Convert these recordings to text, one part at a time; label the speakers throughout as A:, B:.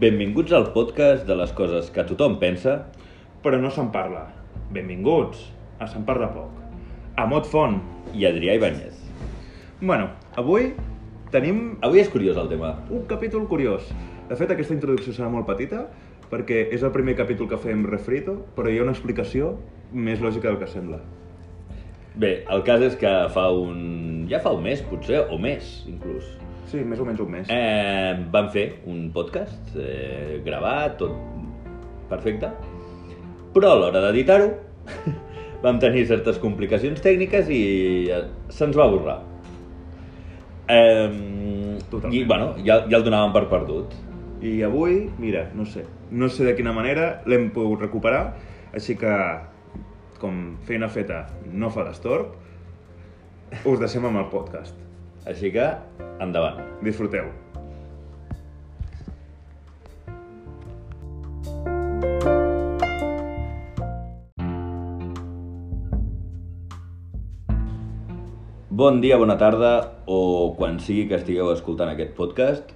A: Benvinguts al podcast de les coses que tothom pensa.
B: però no se'n parla. Benvinguts a Se'n Parla Poc. A Mot Font.
A: I Adrià Ibáñez.
B: Bueno, avui tenim
A: Avui és curiós el tema.
B: un capítol curiós. De fet, aquesta introducció serà molt petita, perquè és el primer capítol que fem refrito, però hi ha una explicació més lògica del que sembla.
A: Bé, el cas és que fa un... ja fa un mes, potser, o més, inclús.
B: Sí, més o menys un mes.
A: Eh, vam fer un podcast, eh, gravat, tot perfecte. Però a l'hora d'editar-ho vam tenir certes complicacions tècniques i eh, se'ns va borrar. Eh, I,
B: Totalment.
A: bueno, ja, ja el donàvem per perdut.
B: I avui, mira, no sé, no sé de quina manera l'hem pogut recuperar, així que, com feina feta no fa destorb, us deixem amb el podcast.
A: Així que, endavant.
B: Disfruteu.
A: Bon dia, bona tarda, o quan sigui que estigueu escoltant aquest podcast.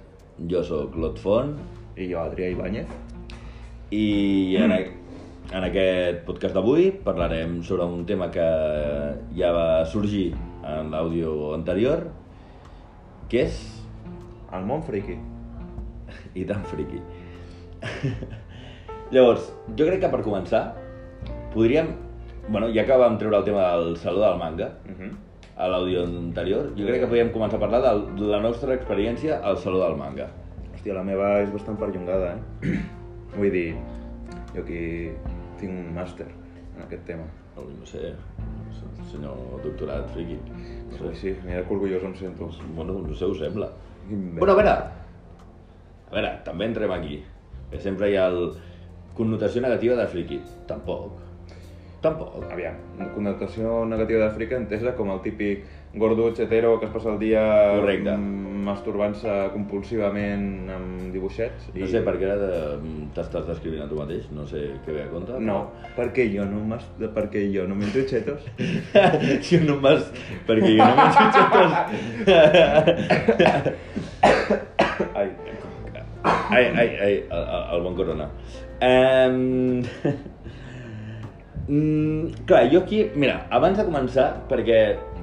A: Jo sóc Lot Font
B: I jo, Adrià Ibáñez.
A: i en, a- en aquest podcast d'avui parlarem sobre un tema que ja va sorgir en l'àudio anterior, que és
B: El món friki.
A: i tan friqui. Llavors, jo crec que per començar podríem... Bueno, ja que vam treure el tema del Saló del Manga,
B: Uh -huh.
A: a l'àudio anterior, jo crec que podíem començar a parlar del- de la nostra experiència al Saló del Manga.
B: Hòstia, la meva és bastant perllongada, eh? Vull dir, jo aquí tinc un màster en aquest tema.
A: Ui, no sé, senyor doctorat, friqui. No sé,
B: Sí, sí, mira que orgullós em sento.
A: bueno, no sé, ho sembla.
B: Quin
A: Bueno, a veure, a veure, també entrem aquí. Que sempre hi ha el... connotació negativa de friqui. Tampoc. Tampoc.
B: Aviam, connotació negativa d'Àfrica entesa com el típic gordo xetero que es passa el dia
A: Correcte.
B: mm, masturbant-se compulsivament amb dibuixets.
A: No sé per què ara de- t'estàs descrivint a tu mateix, no sé què ve a compte.
B: No, perquè jo no, mas... perquè jo no menjo xetos.
A: si no m'has... Perquè jo no m'he xutxat
B: Ai,
A: Ai, ai, ai, el, el- el bon corona. Um... Mm, clar, jo aquí, mira, abans de començar, perquè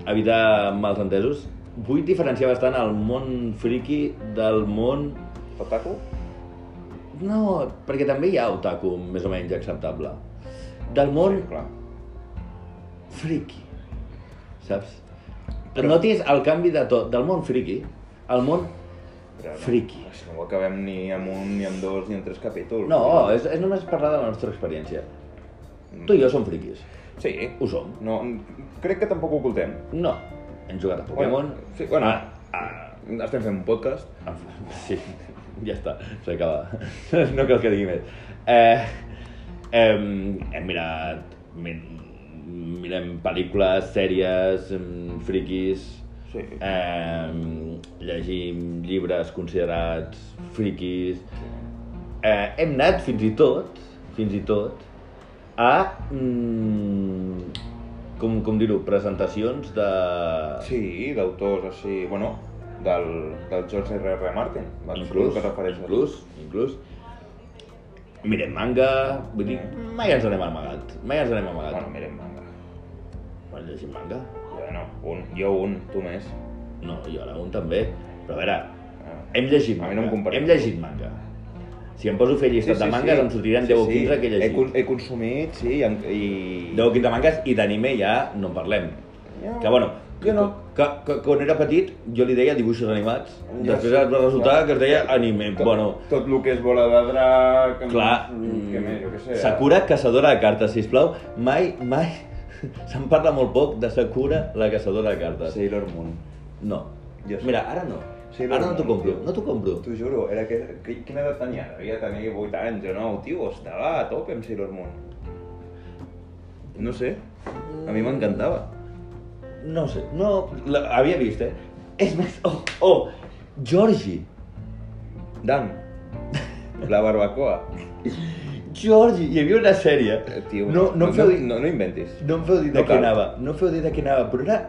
A: evitar mals entesos, vull diferenciar bastant el món friki del món...
B: otaku?
A: No, perquè també hi ha otaku més o menys acceptable. Del món
B: clar.
A: friki, saps? Però... Notis el canvi de tot, del món friki al món...
B: Però no,
A: Friki.
B: Això no ho acabem ni amb un, ni amb dos, ni amb tres capítols.
A: No, és, és només parlar de la nostra experiència.
B: Mm.
A: Tu i jo som friquis.
B: Sí.
A: Ho som.
B: No, crec que tampoc ho ocultem.
A: No. Hem jugat a Pokémon.
B: Sí, bueno,
A: Ah,
B: ah, estem fent un podcast.
A: en- Sí, ja està, s'acaba. No cal que digui més. Eh, eh, hem mirat... min- Mirem pel·lícules, sèries, mm, friquis...
B: Sí.
A: Eh, llegim llibres considerats friquis. Eh, hem anat fins i tot, fins i tot, a... Mm, com, com dir-ho, presentacions de...
B: Sí, d'autors així, bueno, del, del George R. R. Martin. Inclús,
A: inclús,
B: que refereixes.
A: inclús, inclús. Mirem manga, vull dir, mai ens n'hem amagat, mai ens n'hem amagat.
B: Mm. Bueno, mirem manga.
A: Bueno, llegim manga?
B: Jo no, un, jo un, tu més.
A: No, jo ara un també, però a veure,
B: Ah.
A: hem llegit
B: A mi
A: manga,
B: no em comparis.
A: hem llegit manga. Si em poso a fer llistat de doncs mangas em sortiran 10 o 15 que he
B: He,
A: llegit.
B: con- he consumit, sí, i... en- i...
A: 10 o 15 mangas i d'anime ja no en parlem.
B: Ja.
A: Que bueno,
B: Jo
A: que,
B: no.
A: que, que, que quan era petit jo li deia dibuixos animats,
B: Ja
A: després
B: sé,
A: es va resultar
B: clar.
A: que es deia anime.
B: Tot,
A: Bueno,
B: tot el que és bola de drac... amb-
A: Clar,
B: Què més, Mm, jo què sé.
A: Sakura, caçadora de cartes, sisplau. Mai, mai se'n parla molt poc de Sakura, la caçadora de cartes.
B: Sailor Moon.
A: No.
B: Jo sé.
A: Mira, ara no.
B: Sí,
A: ara no
B: no,
A: t'ho
B: no,
A: compro,
B: tio.
A: no t'ho compro.
B: T'ho juro, era que, que, quina edat tenia? Devia tenir 8 anys o 9, tio, estava a tope amb Sailor Moon. No sé, a mi m'encantava.
A: No ho sé, no, l'havia vist, eh? És més, oh, oh, Georgie.
B: Dan, la barbacoa.
A: Georgie, hi havia una sèrie.
B: Eh, Tio,
A: no, no, em feu dir, no,
B: no, no inventis.
A: em feu dir de
B: No
A: què
B: cal.
A: anava, no em feu dir de què anava, però era...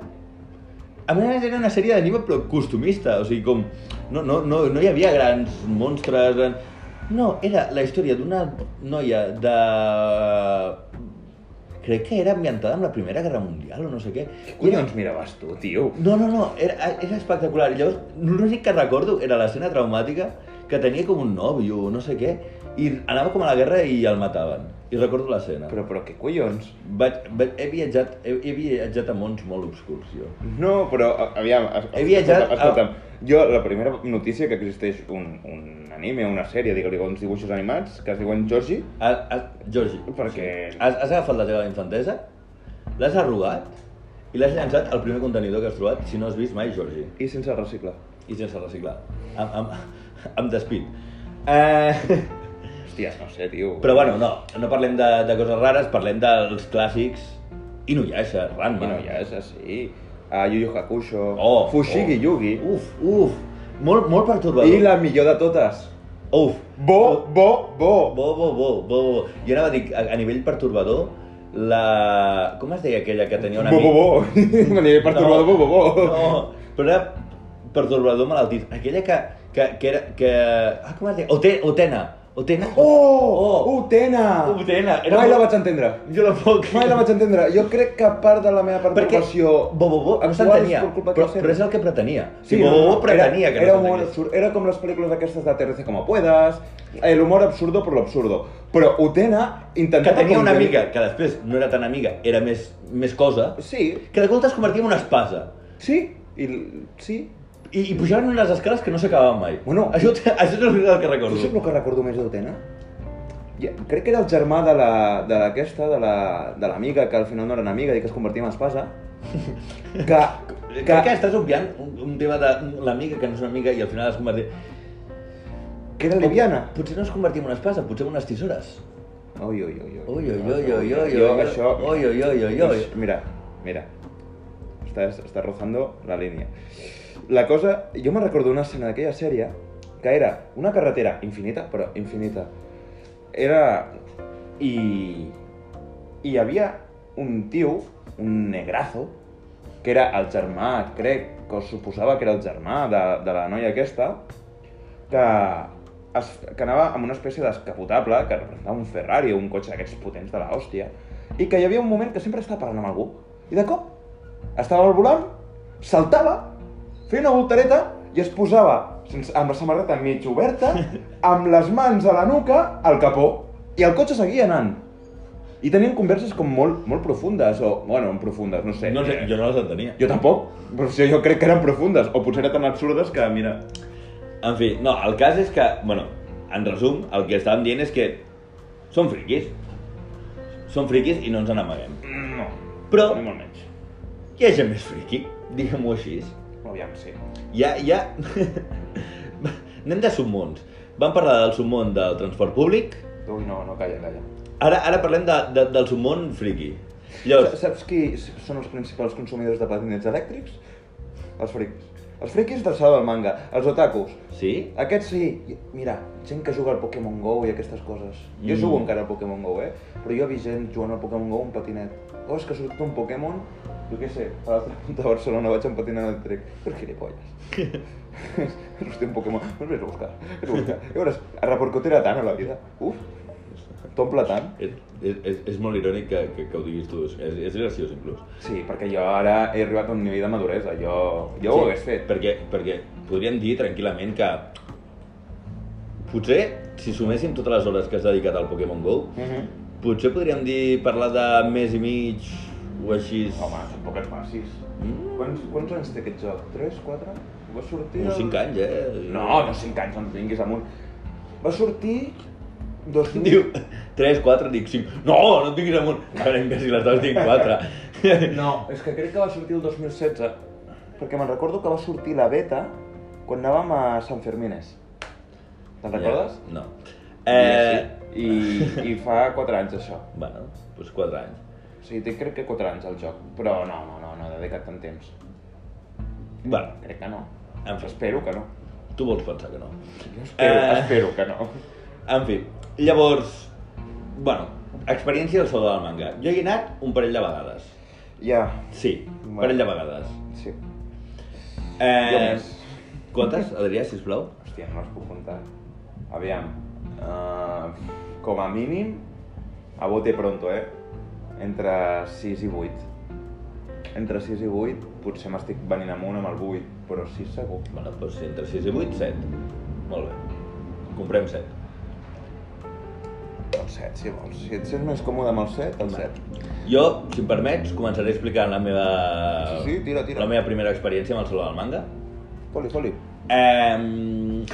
A: A més, era una sèrie d'anime però costumista, o sigui, com... No, no, no, no hi havia grans monstres, gran... No, era la història d'una noia de... Crec que era ambientada en la Primera Guerra Mundial o no sé què. I era-
B: Collons, miraves tu, tio.
A: No, no, no, era, era espectacular. I llavors, l'únic que recordo era l'escena traumàtica que tenia com un nòvio o no sé què, i anava com a la guerra i el mataven. I recordo l'escena. Però...
B: Però, però què collons?
A: Vaig, vaig, he, viatjat, he, he viatjat a mons molt obscurs, jo.
B: No, però, a- aviam, es-
A: He viatjat
B: escolta, escolta'm, jo, la primera notícia que existeix un, un anime, una sèrie, digue-li, uns dibuixos animats, que es diuen Joji,
A: A, a, Jordi,
B: Perquè-
A: has, has agafat la teva infantesa, l'has arrugat i l'has llançat al primer contenidor que has trobat si no has vist mai Jordi.
B: i sense reciclar.
A: I sense reciclar. Amb, amb, amb despit. Eh...
B: Hòstia, no sé, tio.
A: Però bueno, no, no parlem de, de coses rares, parlem dels clàssics Inuyasha,
B: I
A: Ranma.
B: no, ja és així. A Yu Yu Hakusho,
A: Oh,
B: Fushigi
A: oh.
B: Yugi,
A: Uf, uf, molt, molt pertorbador.
B: i la millor de totes,
A: Uf,
B: Bo, Bo,
A: bo,
B: Bo.
A: bo, bo, bo, bo. Jo anava a dir, a, a nivell pertorbador, la... Com es deia aquella que tenia una...
B: Bo, Bo, Bo. Me n'hi he pertorbat, Bo, Bo, Bo.
A: No, però era pertorbador malaltit. Aquella que, que, que era... Que... Ah, com es deia? Ote, Otena. Otena.
B: Oh, Utena!
A: Utena, era
B: Mai
A: molt-
B: la vaig entendre.
A: Jo la puc.
B: Mai la vaig entendre. Jo crec que part de la meva
A: Perquè
B: perturbació...
A: Bobobo no
B: actual
A: s'entenia,
B: és per culpa
A: però,
B: de la
A: però és
B: sèrie.
A: el que pretenia. Sí,
B: no,
A: Bobobo
B: no,
A: pretenia que
B: era,
A: no
B: humor
A: s'entenia.
B: absurd. Era com les pel·lícules aquestes de TRC como puedas, el humor absurdo por lo absurdo. Però Utena
A: Que
B: intentava...
A: tenia una
B: contenir-
A: amiga, que després no era tan amiga, era més, més cosa,
B: Sí,
A: que de compte es convertia en una espasa.
B: sí, i, l- sí.
A: I, i pujaven unes escales que no s'acabaven mai.
B: Bueno,
A: això, això és el que
B: Tu saps
A: recordo.
B: el que recordo més d'Utena? Ja, crec que era el germà de la- de l'aquesta, la, de la- de l'amiga, que al final no era una amiga i que es convertia en espasa. Que,
A: Que... Eh, Crec que estàs obviant un, un tema de l'amiga que no és una amiga i al final es convertia...
B: que era lesbiana.
A: Potser no es convertia en una espasa, potser en unes tisores.
B: Ui, ui, ui,
A: Oi, oi, oi, oi, oi,
B: Jo,
A: oi,
B: això...
A: oi, oi, oi, oi, oi.
B: Ix, Mira, mira. Estàs, estàs rozando la línia. La cosa... Jo me'n recordo una escena d'aquella sèrie que era una carretera infinita, però infinita. Era... I... I hi havia un tio, un negrazo, que era el germà, crec, que us suposava que era el germà de, de la noia aquesta, que, es, que anava amb una espècie d'escapotable que representava un Ferrari o un cotxe d'aquests potents de la hòstia i que hi havia un moment que sempre estava parlant amb algú i de cop estava al volant, saltava, feia una voltareta i es posava sense, amb la samarreta mig oberta, amb les mans a la nuca, al capó i el cotxe seguia anant. I tenien converses com molt, molt profundes, o, bueno, profundes, no sé.
A: No sé, jo no les entenia.
B: Jo tampoc, però si jo crec que eren profundes, o potser eren tan absurdes que, mira...
A: En fi, no, el cas és que, bueno, en resum, el que estàvem dient és que som friquis. Som friquis i no ens n'amaguem.
B: No,
A: Però-
B: ni molt menys.
A: Hi ha gent més friqui, diguem-ho així.
B: Aviam, sí.
A: Hi ha, hi ha... Anem de submons. Vam parlar del submón del transport públic,
B: Ui, no, no, calla, calla.
A: ara, ara parlem de, de, del submón friqui.
B: Saps,
A: Llavors,
B: saps qui s- són els principals consumidors de patinets elèctrics? Els friquis. Els friquis del salt del manga, els otakus.
A: sí?
B: Aquests sí, I- mira, gent que juga al Pokémon GO i aquestes coses. Jo
A: Mm.
B: jugo encara al Pokémon GO, eh? Però jo he vist gent jugant al Pokémon GO amb patinet. Oh, és que surt un Pokémon, jo què sé, a l'altra punta de Barcelona vaig amb patinet elèctric. Però gilipolles. Hòstia, un Pokémon. Doncs vés a buscar, vés a buscar. I veuràs, es repercutirà tant a la vida. Uf, t'omple tant.
A: És, és, és molt irònic que, que, que ho diguis tu, és, és graciós inclús.
B: Sí, perquè jo ara he arribat a un nivell de maduresa. Jo, jo
A: Sí,
B: ho hagués fet.
A: Perquè, perquè podríem dir tranquil·lament que potser, si suméssim totes les hores que has dedicat al Pokémon GO,
B: Mhm.
A: potser podríem dir parlar de més i mig o així...
B: Home, tampoc et passis.
A: Mm.
B: Quants, quants anys té aquest joc? 3, 4? Va sortir...
A: Uns 5 anys, eh?
B: No, no 5 anys, no em vinguis amunt. Va sortir... 2000...
A: Diu, 3, 4, dic 5. No, no et diguis amunt. Ara, imbècil, estàs dient 4.
B: No, és que crec que va sortir el 2016. Perquè me'n recordo que va sortir la beta quan anàvem a Sant Fermines. Te'n recordes?
A: No. Eh,
B: I, així. I, I fa 4 anys, això.
A: Bueno, doncs 4 anys.
B: O sigui, té crec que 4 anys al joc. Però no, no, no, no he dedicat tant temps.
A: Bueno,
B: Crec que no.
A: En fi.
B: Espero que no.
A: tu vols pensar que no.
B: Jo espero,
A: Eh.
B: espero que no.
A: En fi, llavors, bueno, experiència del saló del manga. Jo hi he anat un parell de vegades.
B: Ja,
A: Sí, un
B: Bueno.
A: parell de vegades.
B: sí. Eh, Jo
A: Eh,
B: més.
A: quantes, Adrià, sisplau?
B: Hòstia, no les puc comptar. Aviam, eh, com a mínim, a bote pronto, eh? Entre 6 i 8. Entre 6 i 8, potser m'estic venint amunt amb el 8, però 6 segur.
A: Bueno, doncs entre 6 i 8, 7. Molt bé. Comprem 7.
B: El 7, si vols. Si et sents més còmode amb el 7, el 7.
A: Jo, si em permets, començaré explicant la meva...
B: Sí, sí, tira, tira.
A: La meva primera experiència amb el Saló del Manga.
B: Foli, foli.
A: Em,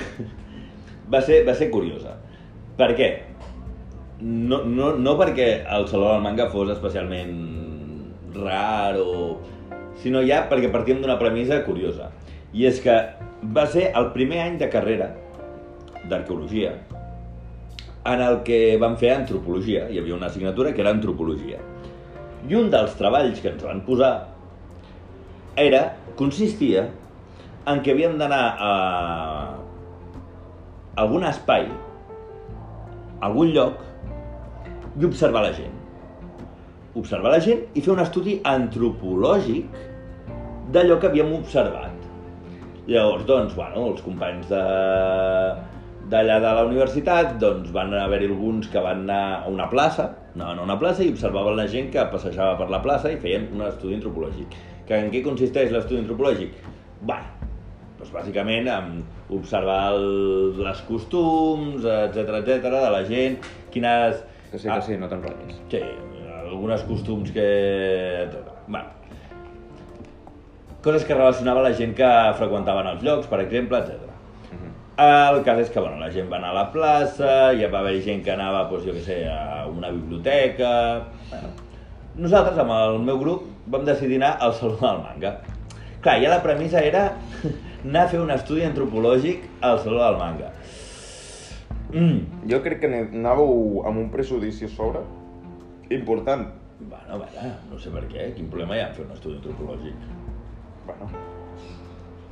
A: va, ser, va ser curiosa. Per què? No, no, no perquè el Saló del Manga fos especialment rar o... sinó ja perquè partíem d'una premissa curiosa. I és que va ser el primer any de carrera d'arqueologia en el que vam fer antropologia. Hi havia una assignatura que era antropologia. I un dels treballs que ens van posar era, consistia en què havíem d'anar a algun espai, a algun lloc, i observar la gent. Observar la gent i fer un estudi antropològic d'allò que havíem observat. Llavors, doncs, bueno, els companys de d'allà de la universitat, doncs van haver-hi alguns que van anar a una plaça, anaven a una plaça i observaven la gent que passejava per la plaça i feien un estudi antropològic. Que en què consisteix l'estudi antropològic? Bé, doncs bàsicament en observar el, les costums, etc etc de la gent, quines...
B: Que sí, que sí, no t'enrotllis.
A: Sí, algunes costums que... Bueno, coses que relacionava la gent que freqüentaven els llocs, per exemple, etc.
B: Mhm.
A: El cas és que bueno, la gent va anar a la plaça, ja va haver gent que anava, doncs, jo què sé, a una biblioteca... Bueno, nosaltres, amb el meu grup, vam decidir anar al Saló del Manga. Clar, ja la premissa era anar a fer un estudi antropològic al Saló del Manga. Mm.
B: Jo crec que ne- anàveu amb un prejudici a sobre important.
A: Bueno, vaja, no sé per què, quin problema hi ha en fer un estudi antropològic?
B: Bueno,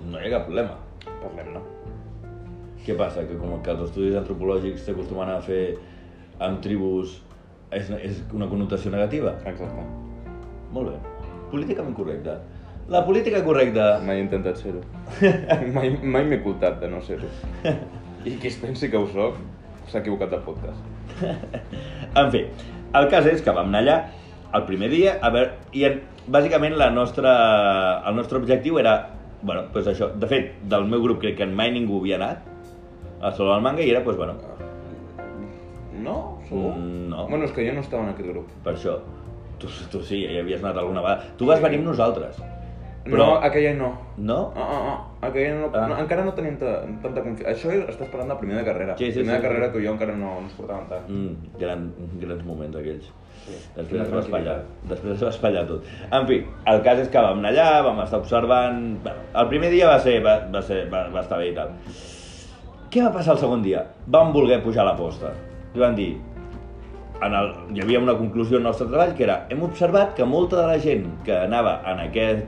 A: No hi ha cap problema.
B: parlem-ne.
A: Què passa? Que com que els estudis antropològics s'acostumen a fer amb tribus és, és una connotació negativa?
B: Exacte.
A: Molt bé. Políticament correcta. La política correcta...
B: Mai he intentat ser-ho. mai mai m'he ocultat de no ser-ho. I qui es pensi que ho soc, s'ha equivocat de podcast.
A: En fi, el cas és que vam anar allà el primer dia, a veure, i en, bàsicament la nostra, el nostre objectiu era, bueno, doncs això, de fet, del meu grup crec que mai ningú havia anat a Saló del Manga i era, doncs, bueno,
B: No? Segur?
A: Mm, no.
B: Bueno, és que jo no estava en aquest grup.
A: per això, tu, tu sí, ja hi havies anat alguna vegada. Tu vas venir amb nosaltres,
B: Però...
A: però...
B: No, aquell any no.
A: No?
B: Ah, ah, ah, aquell any no,
A: Ah.
B: no, encara no tenim ta- tanta confiança. Això estàs parlant de primer de carrera.
A: Sí, sí,
B: primer
A: sí.
B: de carrera que jo encara no, no ens portàvem tant.
A: Mm, gran, grans moments aquells.
B: Sí.
A: Després es
B: Una
A: va espatllar, després es va espatllar tot. En fi, el cas és que vam anar allà, vam estar observant... Bueno, el primer dia va ser, va, va, ser, va, va estar bé i tal. Què va passar el segon dia? Vam voler pujar la posta. I van dir... En el, hi havia una conclusió al nostre treball que era hem observat que molta de la gent que anava en aquest,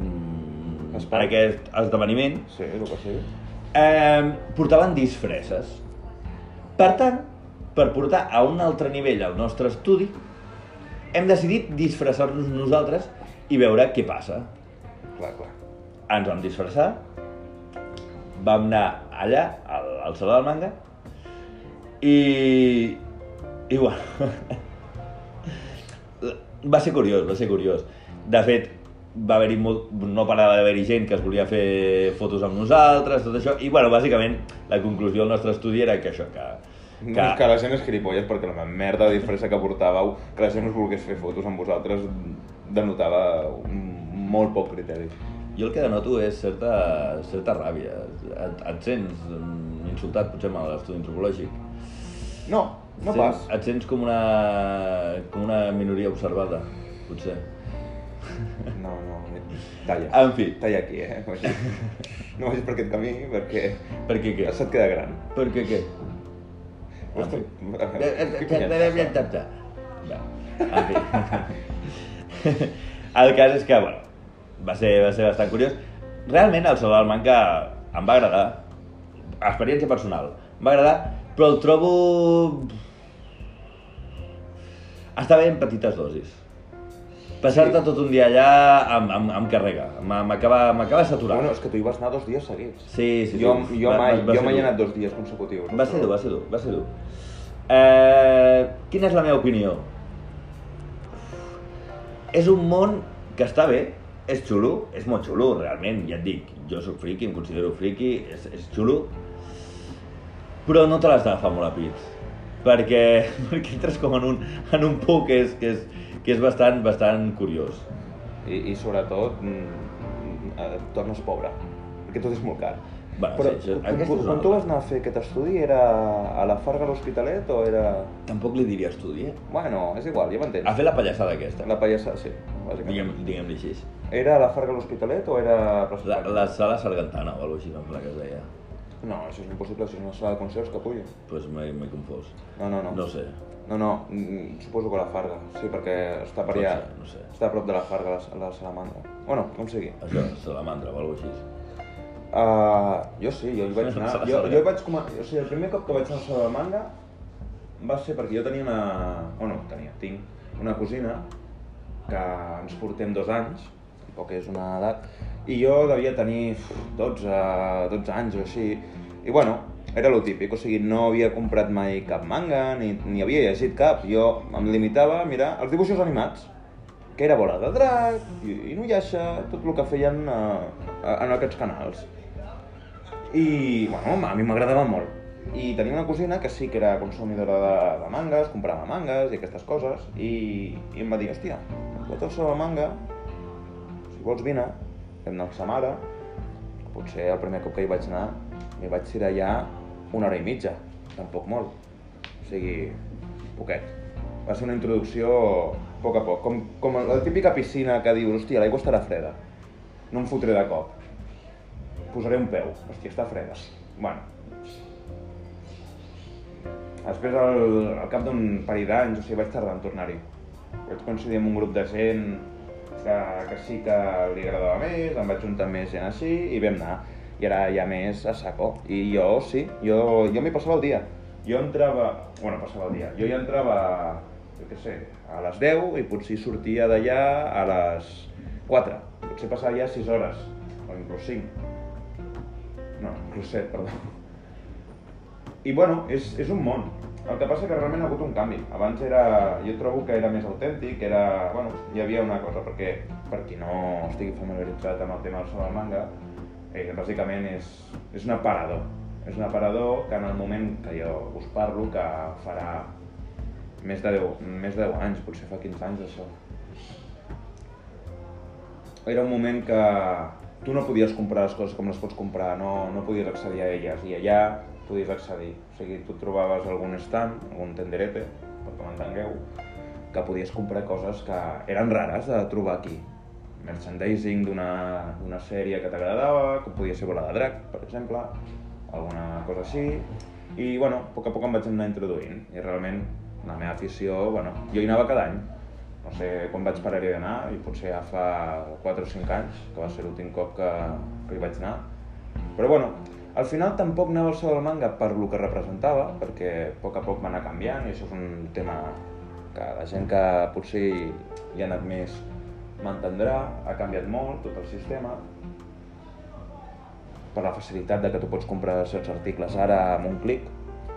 A: mm, en
B: Espai.
A: aquest esdeveniment
B: Sí, el que sigui.
A: eh, portaven disfresses. Per tant, per portar a un altre nivell el nostre estudi, hem decidit disfressar-nos nosaltres i veure què passa.
B: Clar, clar.
A: Ens vam disfressar, vam anar allà, al, al Saló del Manga, i... i bueno, va ser curiós, va ser curiós. De fet, va haver-hi molt... no parava d'haver-hi gent que es volia fer fotos amb nosaltres, tot això, i bueno, bàsicament la conclusió del nostre estudi era que això, que...
B: Que... No, és que la gent és gilipolles perquè la merda de disfressa que portàveu, que la gent us volgués fer fotos amb vosaltres, denotava un molt poc criteri.
A: Jo el que denoto és certa, certa ràbia. Et, et sents mm, insultat, potser, amb l'estudi antropològic.
B: No, no
A: Et
B: pas.
A: sents- Et sents com una, com una minoria observada, potser.
B: No, no, talla.
A: En fi.
B: Talla aquí, eh? No vagis, no vagis per aquest camí perquè
A: Per què què?
B: se't queda gran.
A: Per què què? Ah,
B: Ostres, eh,
A: Què
B: què
A: eh,
B: punyet passa?
A: En fi. El cas és que, bueno, va ser, va ser bastant curiós. Realment el Saló del Manca em va agradar. Experiència personal. Em va agradar, però el trobo... Està bé en petites dosis. Passar-te tot un dia allà em, em, em carrega, M'ha- m'acaba m'acaba saturant.
B: Bueno, és que tu hi vas anar dos dies seguits.
A: Sí, sí, sí.
B: jo jo
A: Va-
B: mai,
A: va- va
B: jo
A: ser
B: mai he
A: dur.
B: anat dos dies consecutius.
A: Va ser dur, va ser dur, va ser dur. Eh, quina és la meva opinió? És un món que està bé, és xulo, és molt xulo, realment, ja et dic, jo sóc friki, em considero friki, és, és xulo, però no te l'has d'agafar molt a pit, perquè, perquè entres com en un, en un pou que és, que és, que és bastant, bastant curiós.
B: I, i sobretot, mm, eh, tornes pobre, perquè tot és molt car.
A: Bueno,
B: Però
A: Ah, sí, això-
B: quan-
A: aquesta és una
B: quan tu
A: altra.
B: vas anar a fer aquest estudi, era a la Farga a l'Hospitalet o era...
A: Tampoc li diria estudi, eh?
B: Bueno, és igual, ja m'entens.
A: A fer la pallassada aquesta,
B: La pallassa, sí,
A: diguem-
B: bàsicament.
A: diguem-li diguem així.
B: Era a la Farga a l'Hospitalet o era... a Plaça
A: La,
B: Espanya?
A: la sala sargantana o alguna cosa així, em sembla que es deia.
B: No, això és impossible, això és una sala de concerts que puja.
A: Doncs pues m'he m'he confós.
B: No, no, no.
A: No sé.
B: No, no, mm, suposo que la Farga, sí, perquè està per
A: Pot
B: allà,
A: ser, no sé.
B: està a prop de la Farga, la, la Salamandra. Bueno, com sigui.
A: Això, salamandra o alguna cosa així.
B: Uh, jo sí, jo hi vaig anar,
A: Salamandra.
B: jo, jo hi vaig com a, o sigui, el primer cop que vaig anar a Salamandra va ser perquè jo tenia una, o no, tenia, tinc una cosina que ens portem dos anys, tampoc és una edat, i jo devia tenir uf, 12, 12 anys o així, i bueno, era lo típic, o sigui, no havia comprat mai cap manga, ni, ni havia llegit cap, jo em limitava a mirar els dibuixos animats, que era Bola de Drac, i, i Nuyasha, tot el que feien eh, en aquests canals. I, bueno, a mi m'agradava molt. I tenia una cosina que sí que era consumidora de, de mangas, comprava mangas i aquestes coses, i, i em va dir, hòstia, pot el seu manga, si vols vine, vam anar a sa mare, potser el primer cop que hi vaig anar, m'hi vaig tirar ja una hora i mitja, tampoc molt. O sigui, poquet. Va ser una introducció a poc a poc, com, com la típica piscina que dius, hòstia, l'aigua estarà freda, no em fotré de cop posaré un peu. Hòstia, està freda. Bueno. Després, al, al cap d'un parell d'anys, o sigui, vaig tardar en tornar-hi. Vaig coincidir amb un grup de gent que, que sí que li agradava més, em vaig juntar amb més gent així i vam anar. I ara hi ha més a saco. I jo, sí, jo, jo m'hi passava el dia. Jo entrava... Bueno, passava el dia. Jo hi entrava, jo què sé, a les 10 i potser sortia d'allà a les 4. Potser passava ja 6 hores, o inclús 5. No, Roset, perdó. I bueno, és, és un món. El que passa que realment ha hagut un canvi. Abans era, jo trobo que era més autèntic, era, bueno, hi havia una cosa, perquè per qui no estigui familiaritzat amb el tema del sobre manga, eh, bàsicament és, és un aparador. És un aparador que en el moment que jo us parlo, que farà més de 10, més de 10 anys, potser fa 15 anys d'això, era un moment que tu no podies comprar les coses com les pots comprar, no, no podies accedir a elles, i allà podies accedir. O sigui, tu trobaves algun stand, algun tenderete, perquè m'entengueu, que podies comprar coses que eren rares de trobar aquí. Merchandising d'una d'una sèrie que t'agradava, com podia ser Bola de Drac, per exemple, alguna cosa així. I, bueno, a poc a poc em vaig anar introduint, i realment la meva afició, bueno, jo hi anava cada any, no sé quan vaig parar hi d'anar, i potser ja fa 4 o 5 anys, que va ser l'últim cop que, que hi vaig anar. Però bueno, al final tampoc anava al Sol del Manga per lo que representava, perquè a poc a poc va anar canviant, i això és un tema que la gent que potser hi ha anat més m'entendrà, ha canviat molt tot el sistema, per la facilitat de que tu pots comprar certs articles ara amb un clic,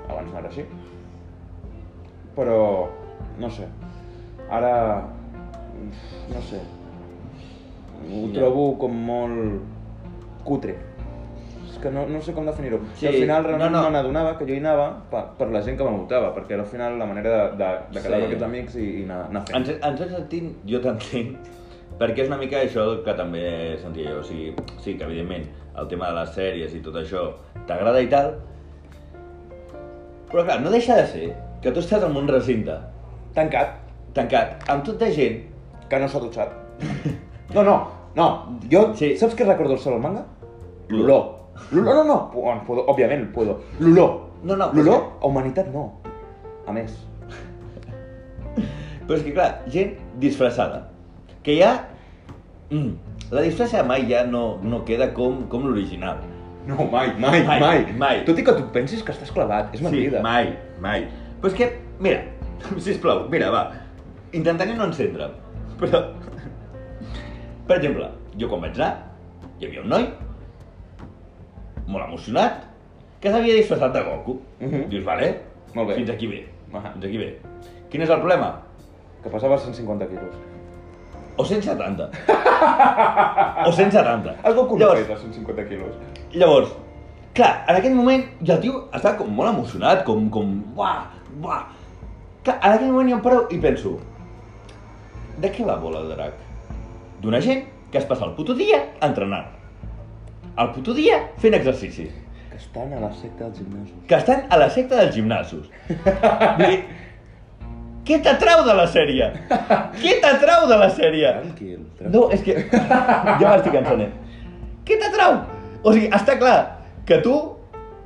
B: abans no era així. Però, no sé, ara, no sé, ho
A: Ja.
B: trobo com molt cutre. És que no, no sé com definir-ho. Sí, al final realment no,
A: no.
B: no. me n'adonava que jo hi anava per, per la gent que m'envoltava, perquè al final la manera de, de, de quedar
A: Sí.
B: amb aquests amics i, i anar, anar fent.
A: En, cer- en cert sentit, jo t'entenc, perquè és una mica això el que també sentia jo. O sigui, sí que evidentment el tema de les sèries i tot això t'agrada i tal, però clar, no deixa de ser que tu estàs en un recinte
B: Tancat,
A: tancat amb tot de gent
B: que no s'ha dutxat. No, no, no, jo,
A: Sí.
B: sí. saps què recordo el Salomanga?
A: L'olor.
B: L'olor. L'olor, no, no, bueno, puedo, òbviament, puedo. L'olor.
A: No, no,
B: L'olor,
A: és
B: a humanitat no. A més.
A: Però és que, clar, gent disfressada. Que ja... Mm, la disfressa mai ja no, no queda com, com l'original.
B: No, mai, mai,
A: Mai,
B: mai,
A: mai.
B: Tot i que tu pensis que estàs clavat, és mentida.
A: Sí, mai, mai. Però és que, mira, sisplau, mira, va. Intentaré no encendre'm, però Per exemple, jo quan vaig anar, hi havia un noi, molt emocionat, que s'havia disfressat de Goku.
B: Mhm. Ah.
A: Dius, vale,
B: Molt bé.
A: fins aquí bé,
B: Ahà.
A: fins aquí bé. Quin és el problema?
B: Que pesava 150 quilos.
A: O 170. o 170.
B: El Goku no
A: llavors,
B: pesa 150 quilos.
A: llavors, clar, en aquell moment ja el tio estava com molt emocionat, com, com, buah, buah. Clar, en aquell moment jo em paro i penso, de què va volar el drac? D'una gent que es passa el puto dia entrenant. El puto dia fent exercici.
B: Que estan a la secta dels gimnasos.
A: Que estan a la secta dels gimnasos. Vull dir, què t'atrau de la sèrie? Què t'atrau de la sèrie?
B: Tranquil,
A: No, és que... Jo m'estic cansant. Què t'atrau? O sigui, està clar que tu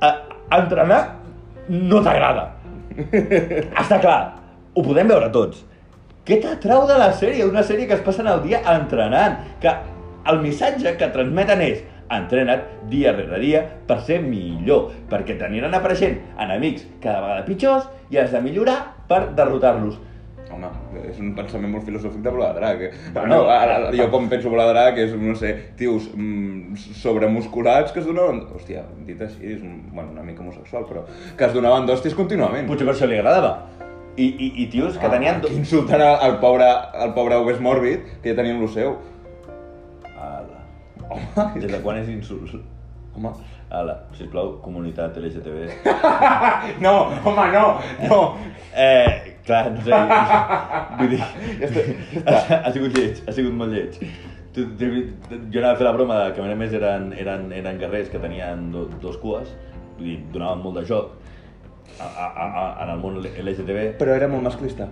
A: a, a entrenar no t'agrada. Està clar, ho podem veure tots. Què t'atrau de la sèrie? Una sèrie que es passen el dia entrenant, que el missatge que transmeten és entrena't dia rere dia per ser millor, perquè t'aniran apareixent enemics cada vegada pitjors i has de millorar per derrotar-los.
B: Home, és un pensament molt filosòfic de volar drac.
A: Bueno,
B: no, ara, ara, jo com penso volar drac és, no sé, tios mm, sobremusculats que es donaven... Hòstia, dit així, és un, bueno, una mica homosexual, però... Que es donaven d'hòsties contínuament.
A: Potser per això li agradava. I, i, i tios que tenien...
B: Ah, que insultant al, al pobre, al pobre Wes Morbid, que ja tenia el seu.
A: Ala.
B: Home,
A: Des de quan és insult?
B: home,
A: Ala, sisplau, comunitat LGTB.
B: no, home, no, no.
A: Eh, clar, no sé... Vull dir...
B: Ja està, ja
A: Ha,
B: està.
A: ha sigut lleig, ha sigut molt lleig. Tu, tu, jo anava a fer la broma de que a més eren, eren, eren guerrers que tenien do, dos cues, vull dir, donaven molt de joc a, a, a, a, en el món LGTB.
B: Però era molt masclista.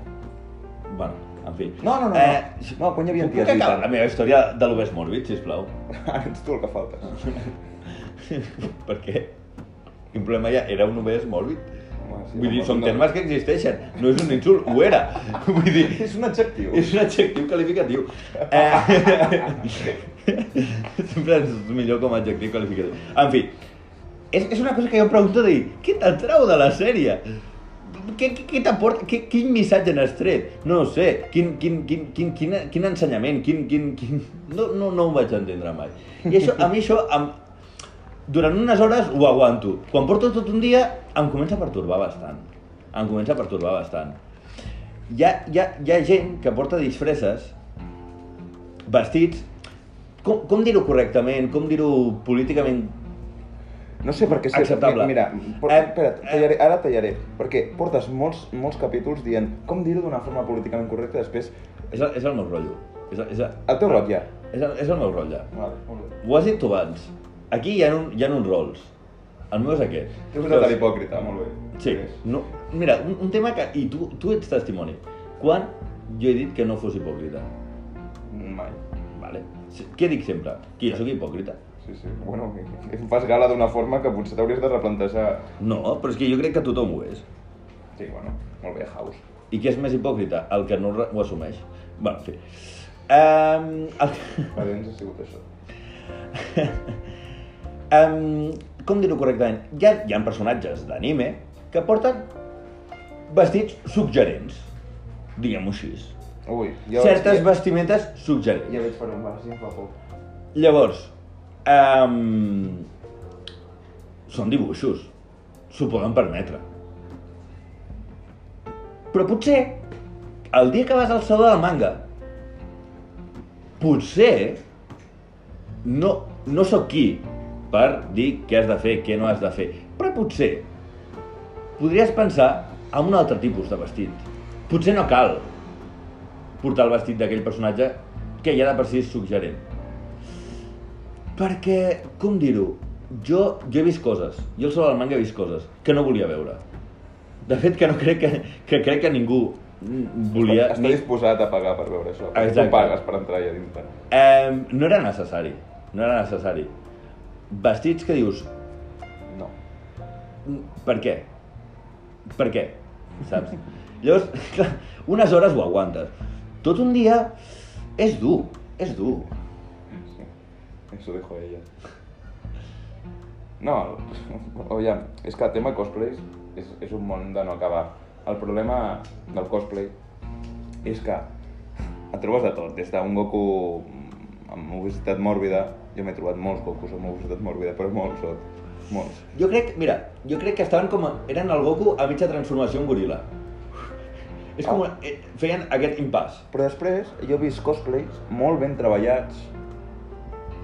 A: Bueno, en fi. Eh,
B: No, no, no, no. No, quan hi havia
A: puc-
B: ties
A: Puc acabar
B: lluitant?
A: la meva història de l'Obes Morbid, sisplau?
B: Ara ets tu el que faltes.
A: Perquè quin problema hi ha? Era un obès mòrbid?
B: Home, sí,
A: Vull dir,
B: home,
A: són
B: no.
A: termes que existeixen, no és un insult, ho era. Vull dir,
B: És un adjectiu.
A: és un adjectiu qualificatiu. Eh, sempre és millor com a adjectiu qualificatiu. En fi, és, és una cosa que jo em pregunto de dir, què t'atrau de la sèrie? Què, què, què t'aporta? Què- Quin missatge n'has tret? No ho sé. Quin, quin, quin, quin, quin, quin ensenyament? Quin, quin, quin... No, no, no ho vaig entendre mai. I això, a mi això, em, durant unes hores ho aguanto. Quan porto tot un dia, em comença a pertorbar bastant. Em comença a pertorbar bastant. Hi ha, hi ha, hi ha gent que porta disfresses, vestits... Com, com dir-ho correctament? Com dir-ho políticament?
B: No sé per què... sé-
A: Acceptable.
B: Mira, por,
A: Eh,
B: espera't,
A: eh.
B: tallaré, ara tallaré. Perquè portes molts, molts capítols dient com dir-ho d'una forma políticament correcta i després...
A: És el, és el meu rotllo. És el, és el,
B: El teu rot ja.
A: és el, és el meu rotlle.
B: Vale, molt bé.
A: Ho has dit tu abans. Aquí hi ha, un, hi ha uns rols. El meu és aquest.
B: T'he posat a l'hipòcrita, molt bé.
A: Sí, no, mira, un, un tema que... I tu, tu ets testimoni. Quan jo he dit que no fos hipòcrita?
B: Mai.
A: Vale. Sí, Què dic sempre? Que jo sóc hipòcrita?
B: Sí, sí. Bueno, que- que em fas gala d'una forma que potser t'hauries de replantejar...
A: No, però és que jo crec que tothom ho és.
B: Sí, bueno, molt bé, House.
A: I què és més hipòcrita? El que no re- ho assumeix. Bé, en fi. Um, el,
B: Per dins ha sigut això.
A: um, com dir-ho correctament? Hi ha, hi ha personatges d'anime que porten vestits suggerents, diguem-ho així.
B: Ui, jo...
A: Certes
B: ja,
A: vestimentes suggerents.
B: ja veig per on vas, ja em fa por.
A: Llavors, um, són dibuixos, s'ho poden permetre. Però potser, el dia que vas al saló del manga, potser no, no sóc qui per dir què has de fer, què no has de fer, però potser podries pensar en un altre tipus de vestit. Potser no cal portar el vestit d'aquell personatge que ja de per si és suggerent. Perquè, com dir-ho, jo, jo he vist coses, jo al Sol del Manga he vist coses que no volia veure. De fet, que no crec que, que, crec que ningú mm, volia...
B: Està
A: ni-
B: disposat a pagar per veure això. Exacte.
A: Exacte.
B: Tu pagues per entrar allà dintre.
A: Eh, no era necessari, no era necessari. Vestits que dius,
B: No.
A: "Mm, per què? Per què? Saps? Llavors, clar, unes hores ho aguantes. Tot un dia és dur, és dur.
B: Sí, Eso dijo ella. No, oiam, és que el tema cosplays és, és un món de no acabar. El problema del cosplay és que et trobes de tot, des d'un Goku amb obesitat mòrbida, jo m'he trobat molts Gokus amb obesitat mòrbida, però molts, tot. Molts.
A: Jo crec, mira, jo crec que estaven com... a- Eren el Goku a mitja transformació en goril·la. És com...
B: Ah.
A: eh, Feien aquest impàs.
B: Però després jo he vist cosplays molt ben treballats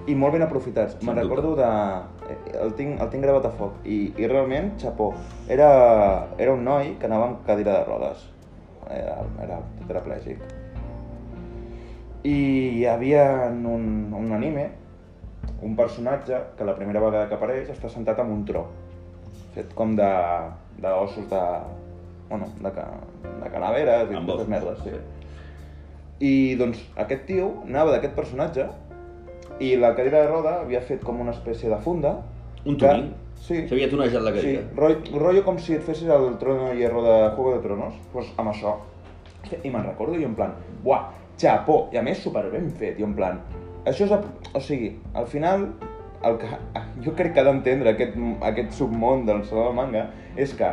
B: i molt ben aprofitats.
A: Sens
B: Me'n
A: dubte.
B: recordo de... eh, El tinc, el tinc gravat a foc i, i realment, xapó, era, era un noi que anava amb cadira de rodes. Era, era tetraplègic. I hi havia en un, un anime un personatge que la primera vegada que apareix està sentat en un tro fet com de d'ossos de... bueno, de, ca, de calaveres i
A: Amb
B: totes
A: ossos,
B: merdes, sí. I doncs aquest tio anava d'aquest personatge i la cadira de roda havia fet com una espècie de funda.
A: Un
B: que-
A: tuning.
B: Sí,
A: S'havia tonejat la
B: sí
A: cadira.
B: rotllo, rotllo com si et fessis el trono i hierro de Juego de Tronos, doncs amb això. Hòstia, I me'n recordo jo en plan, buah, xapó, i a més super ben fet, jo en plan, això és, a- o sigui, al final, el que, jo crec que ha d'entendre aquest, aquest submón del saló del manga és que,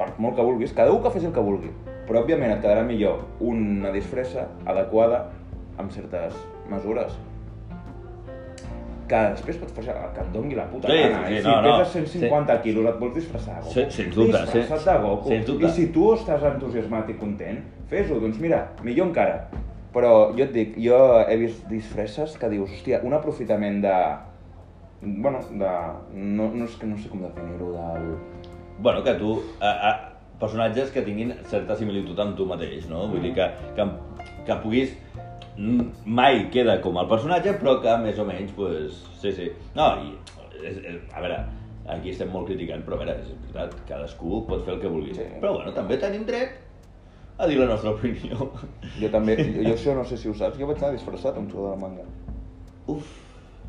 B: per molt que vulguis, cadascú que faci el que vulgui, però òbviament et quedarà millor una disfressa adequada amb certes mesures que després pots fer el que et dongui la puta
A: Sí,
B: gana.
A: sí, sí,
B: I si
A: no, no.
B: peses 150 quilos et vols disfressar de Goku,
A: Sí, sens dubte, sí.
B: disfressa't de Goku.
A: Sens dubte.
B: I si tu estàs entusiasmat i content, fes-ho, doncs mira, millor encara. Però jo et dic, jo he vist disfresses que dius, hòstia, un aprofitament de... Bueno, de... No, no, és que no sé com definir-ho, del...
A: Bueno, que tu... A, a, personatges que tinguin certa similitud amb tu mateix, no? Vull dir que, que, que puguis mm, mai queda com el personatge, però que més o menys, pues, sí, sí. No, i, és, és, a veure, aquí estem molt criticant, però a veure, és veritat, cadascú pot fer el que vulgui.
B: Sí.
A: Però bueno, també tenim dret a dir la nostra opinió.
B: Jo també, jo, jo això no sé si ho saps, jo vaig anar disfressat amb tu de la manga.
A: Uf,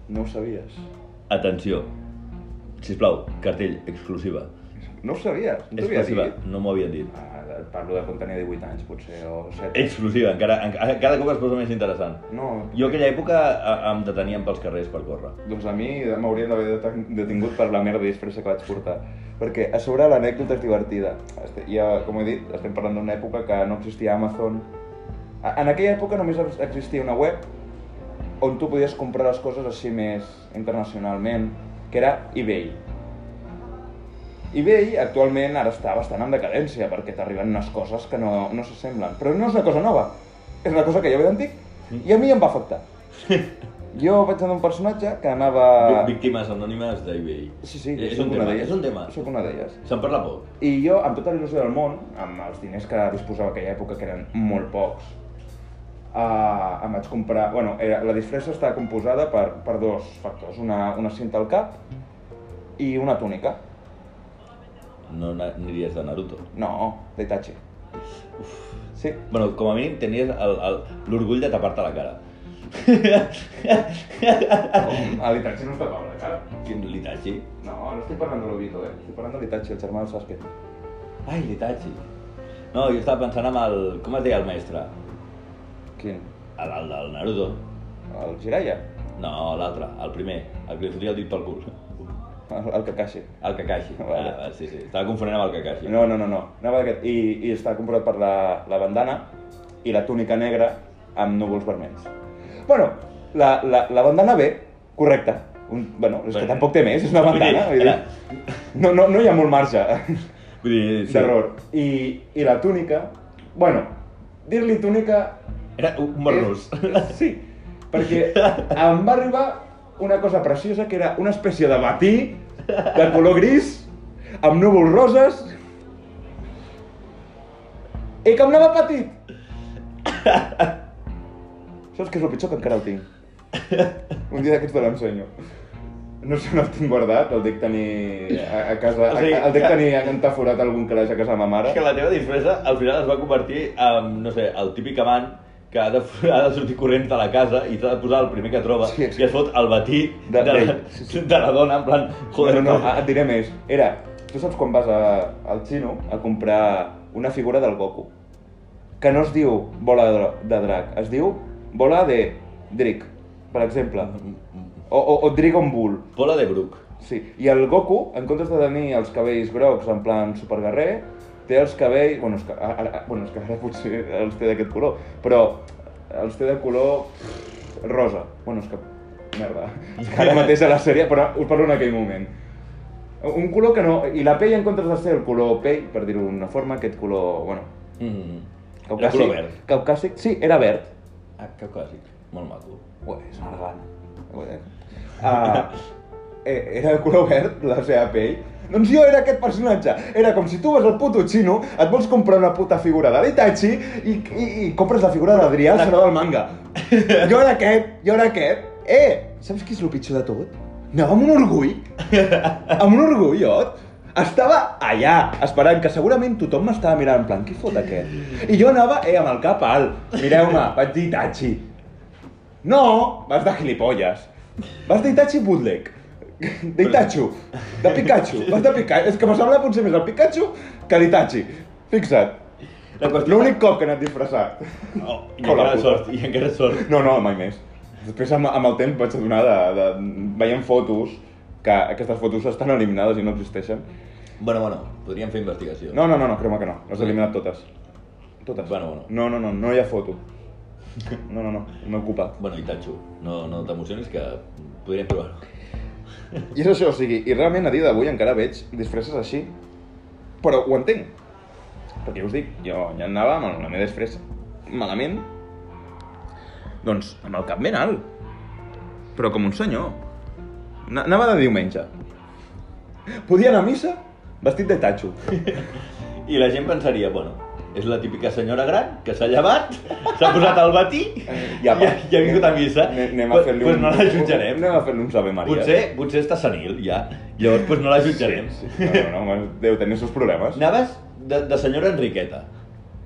B: No ho sabies.
A: atenció, sisplau, cartell, exclusiva.
B: No ho sabies, no t'ho havia
A: Exclusiva,
B: dit.
A: no m'ho havien dit.
B: Ah, parlo de quan tenia 18 anys, potser, o 7.
A: Exclusiva, encara, encara, cada cop es posa més interessant.
B: No,
A: Jo aquella època a- em detenien pels carrers per córrer.
B: Doncs a mi m'haurien d'haver deten- detingut per la merda disfressa que vaig portar. Perquè a sobre l'anècdota és divertida. Este- Ja, com he dit, estem parlant d'una època que no existia Amazon. A- En aquella època només ex- existia una web on tu podies comprar les coses així més internacionalment, que era eBay. eBay actualment ara està bastant en decadència perquè t'arriben unes coses que no, no s'assemblen. Però no és una cosa nova, és una cosa que ja ve d'antic i a mi em va afectar. Jo vaig anar un personatge que
A: Uh,
B: anava...
A: Víctimes anònimes d'eBay.
B: Sí, sí,
A: eh, és,
B: soc
A: un
B: una
A: tema,
B: d'elles.
A: és un tema.
B: Soc una d'elles.
A: Se'n parla poc.
B: I jo, amb tota la il·lusió del món, amb els diners que disposava aquella època, que eren molt pocs, uh, em vaig comprar... Bueno, era, la disfressa estava composada per, per dos factors. Una, una cinta al cap i una túnica.
A: No na- aniries de Naruto.
B: No, d'Itachi. Sí,
A: Bueno, com a mínim tenies el- el- l'orgull de tapar-te la cara.
B: a l'Itachi no es tapava la cara.
A: Quin l'Itachi.
B: No, no estic parlant de l'Obito, eh? Estic parlant de l'Itachi, el germà del Sasuke.
A: Ai, l'Itachi. No, jo estava pensant amb el... Com es deia el mestre?
B: Quin?
A: El, el del Naruto.
B: El Jiraiya?
A: No, l'altre, el primer. El que li fotia el dit pel cul.
B: El, el Kakashi.
A: El Kakashi.
B: Vale.
A: Ah, sí, sí. Estava confonent amb el Kakashi.
B: No, no, no, no. Anava d'aquest. I, I està comprat per la, la bandana i la túnica negra amb núvols vermells. Bueno, la, la, la bandana bé, correcta. Un, bueno, és que
A: Bé.
B: tampoc té més, és una
A: Vull dir,
B: bandana. Vull dir,
A: ara-
B: no, no, no hi ha molt marge
A: Vull dir, sí.
B: d'error. I, I la túnica... Bueno, dir-li túnica
A: Era un marrús.
B: és- Sí, perquè em va arribar una cosa preciosa que era una espècie de matí de color gris amb núvols roses i que em anava petit. Saps què és el pitjor? Que encara el tinc. Un dia d'aquests te l'ensenyo. No sé on el tinc guardat, el dec tenir a, a casa...
A: O sigui,
B: a, el dec
A: que-
B: tenir entaforat a algun calaix a casa de ma mare.
A: És que la teva disfressa al final es va convertir en, no sé, el típic amant que ha de, ha de sortir corrents de la casa i t'ha de posar el primer que troba
B: Sí, exacte.
A: i es fot el batit de, de,
B: De-
A: la,
B: d'ell, sí,
A: sí, sí. de la dona, en plan, joder, ah,
B: no, no, no, et diré més. Era, tu saps quan vas a, al xino a comprar una figura del Goku? Que no es diu bola de, de drac, es diu bola de Drick, per exemple. O, o, o Dragon Bull.
A: Pola de Bruc.
B: Sí. I el Goku, en comptes de tenir els cabells grocs en plan superguerrer, té els cabells... Bueno, és que ara, ara, bueno, és que ara potser els té d'aquest color, però els té de color rosa. Bueno, és que... Merda. És que ara mateix a la sèrie, però us parlo en aquell moment. Un color que no... I la pell, en comptes de ser el color pell, per dir-ho d'una forma, aquest color... Bueno,
A: Mm. El
B: caucàsic.
A: color verd.
B: Caucàsic, sí, era verd.
A: Ah, caucàsic. Molt maco.
B: Ué, és una gana. Ah, eh, era de color verd, la seva pell. Doncs jo era aquest personatge. Era com si tu vas al puto xino, et vols comprar una puta figura de l'Itachi i, i, i compres la figura d'Adrià, el senador del manga. Jo era aquest, jo era aquest. Eh, saps què és el pitjor de tot? Anava amb un orgull. Amb un orgullot. Estava allà, esperant, que segurament tothom m'estava mirant en plan, qui fot aquest? I jo anava, eh, amb el cap alt. Mireu-me, vaig dir Itachi. No, vas de gilipolles. Vas d'Itachi bootleg. D'Itachi. De Pikachu. Vas de Pikachu. És que me sembla potser més el Pikachu que l'Itachi. Fixa't.
A: La qüestió...
B: L'únic cop que he anat disfressat.
A: Oh, I
B: Hola,
A: encara
B: puta.
A: sort, i encara sort.
B: No, no, mai més. Després amb, amb el temps vaig adonar de, de... veient fotos que aquestes fotos estan eliminades i no existeixen.
A: Bueno, bueno, podríem fer investigació.
B: No, no, no, no creu-me que no. Les he eliminat totes. Totes.
A: Bueno, bueno.
B: No, no, no, no hi ha foto. No, no, no, m'he ocupat.
A: Bueno, Itachu, no, no t'emocionis que podríem provar-ho.
B: I és això, o sigui, i realment a dia d'avui encara veig disfresses així, però ho entenc. Perquè ja us dic, jo ja anava amb la meva disfressa malament, doncs amb el cap ben alt, però com un senyor. Ana- Anava de diumenge. Podia anar a missa vestit de tatxo.
A: I la gent pensaria, bueno, és la típica senyora gran que s'ha llevat, s'ha posat al matí i,
B: I apa.
A: ha, i ha vingut a missa.
B: Ane- Anem a
A: Pues-
B: fer-li
A: pues
B: un...
A: no la jutjarem.
B: Anem a fer-li un Ave Maria.
A: potser, potser està senil, ja. Llavors, pues no la jutjarem.
B: Sí, sí. No, no, no, deu tenir els seus problemes.
A: Anaves de, de senyora Enriqueta,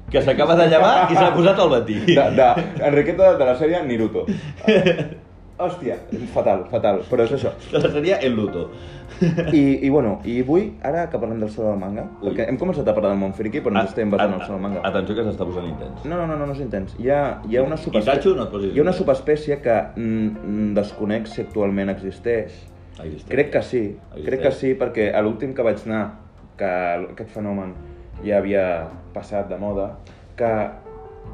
A: que s'acaba de llevar i s'ha posat al matí.
B: de, de Enriqueta de la sèrie Niruto. Hòstia, fatal, fatal, però és això.
A: Que la seria El Luto.
B: I, i bueno, i avui, ara que parlem del sol del manga,
A: Ui. Ah,
B: perquè hem començat a parlar del món friki, però ens estem basant en el sol del manga.
A: Atenció que s'està posant intens.
B: No, no, no, no, no és intens. Hi ha, hi ha una
A: Itacho,
B: subespècie,
A: no et posis
B: hi ha una
A: intens.
B: subespècie que mm, mm, desconec si actualment existeix.
A: Ahí està.
B: Crec que sí,
A: Existeix.
B: crec que sí, perquè a l'últim que vaig anar, que aquest fenomen ja havia passat de moda, que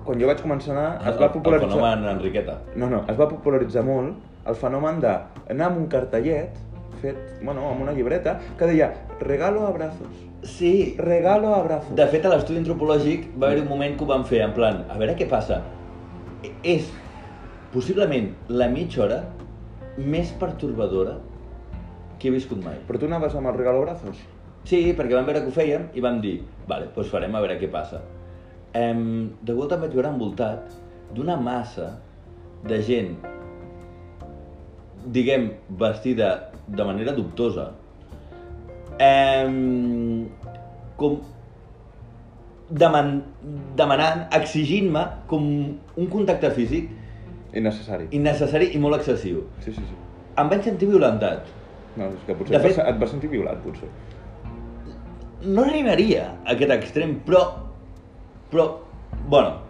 B: quan jo vaig començar a anar es va popularitzar...
A: Ah, El fenomen Enriqueta.
B: No, no, es va popularitzar molt el fenomen d'anar amb un cartellet fet, bueno, amb una llibreta, que deia regalo abrazos,
A: Sí,
B: regalo abrazos.
A: De fet, a l'estudi antropològic va haver un moment que ho van fer, en plan, a veure què passa. E- És possiblement la mitja hora més pertorbadora que he viscut mai.
B: Però tu anaves amb el regalo abrazos?
A: Sí, perquè vam veure que ho fèiem i vam dir, vale, doncs farem a veure què passa. Um, de volta em vaig veure envoltat d'una massa de gent, diguem, vestida de manera dubtosa, um, com deman demanant, exigint-me com un contacte físic
B: Innecessari.
A: innecessari i molt excessiu.
B: Sí, sí, sí.
A: Em vaig sentir violentat.
B: No, és que
A: De
B: potser et,
A: fet-
B: vas, et vas sentir violat, potser.
A: no arribaria a aquest extrem, però... Però, bueno,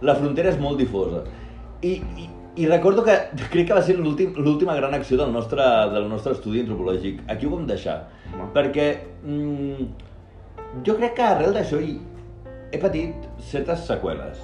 A: la frontera és molt difosa. I, i, i recordo que crec que va ser l'últim- l'última gran acció del nostre, del nostre estudi antropològic. Aquí ho vam deixar.
B: Home.
A: Perquè mm, jo crec que arrel d'això hi- he patit certes seqüeles.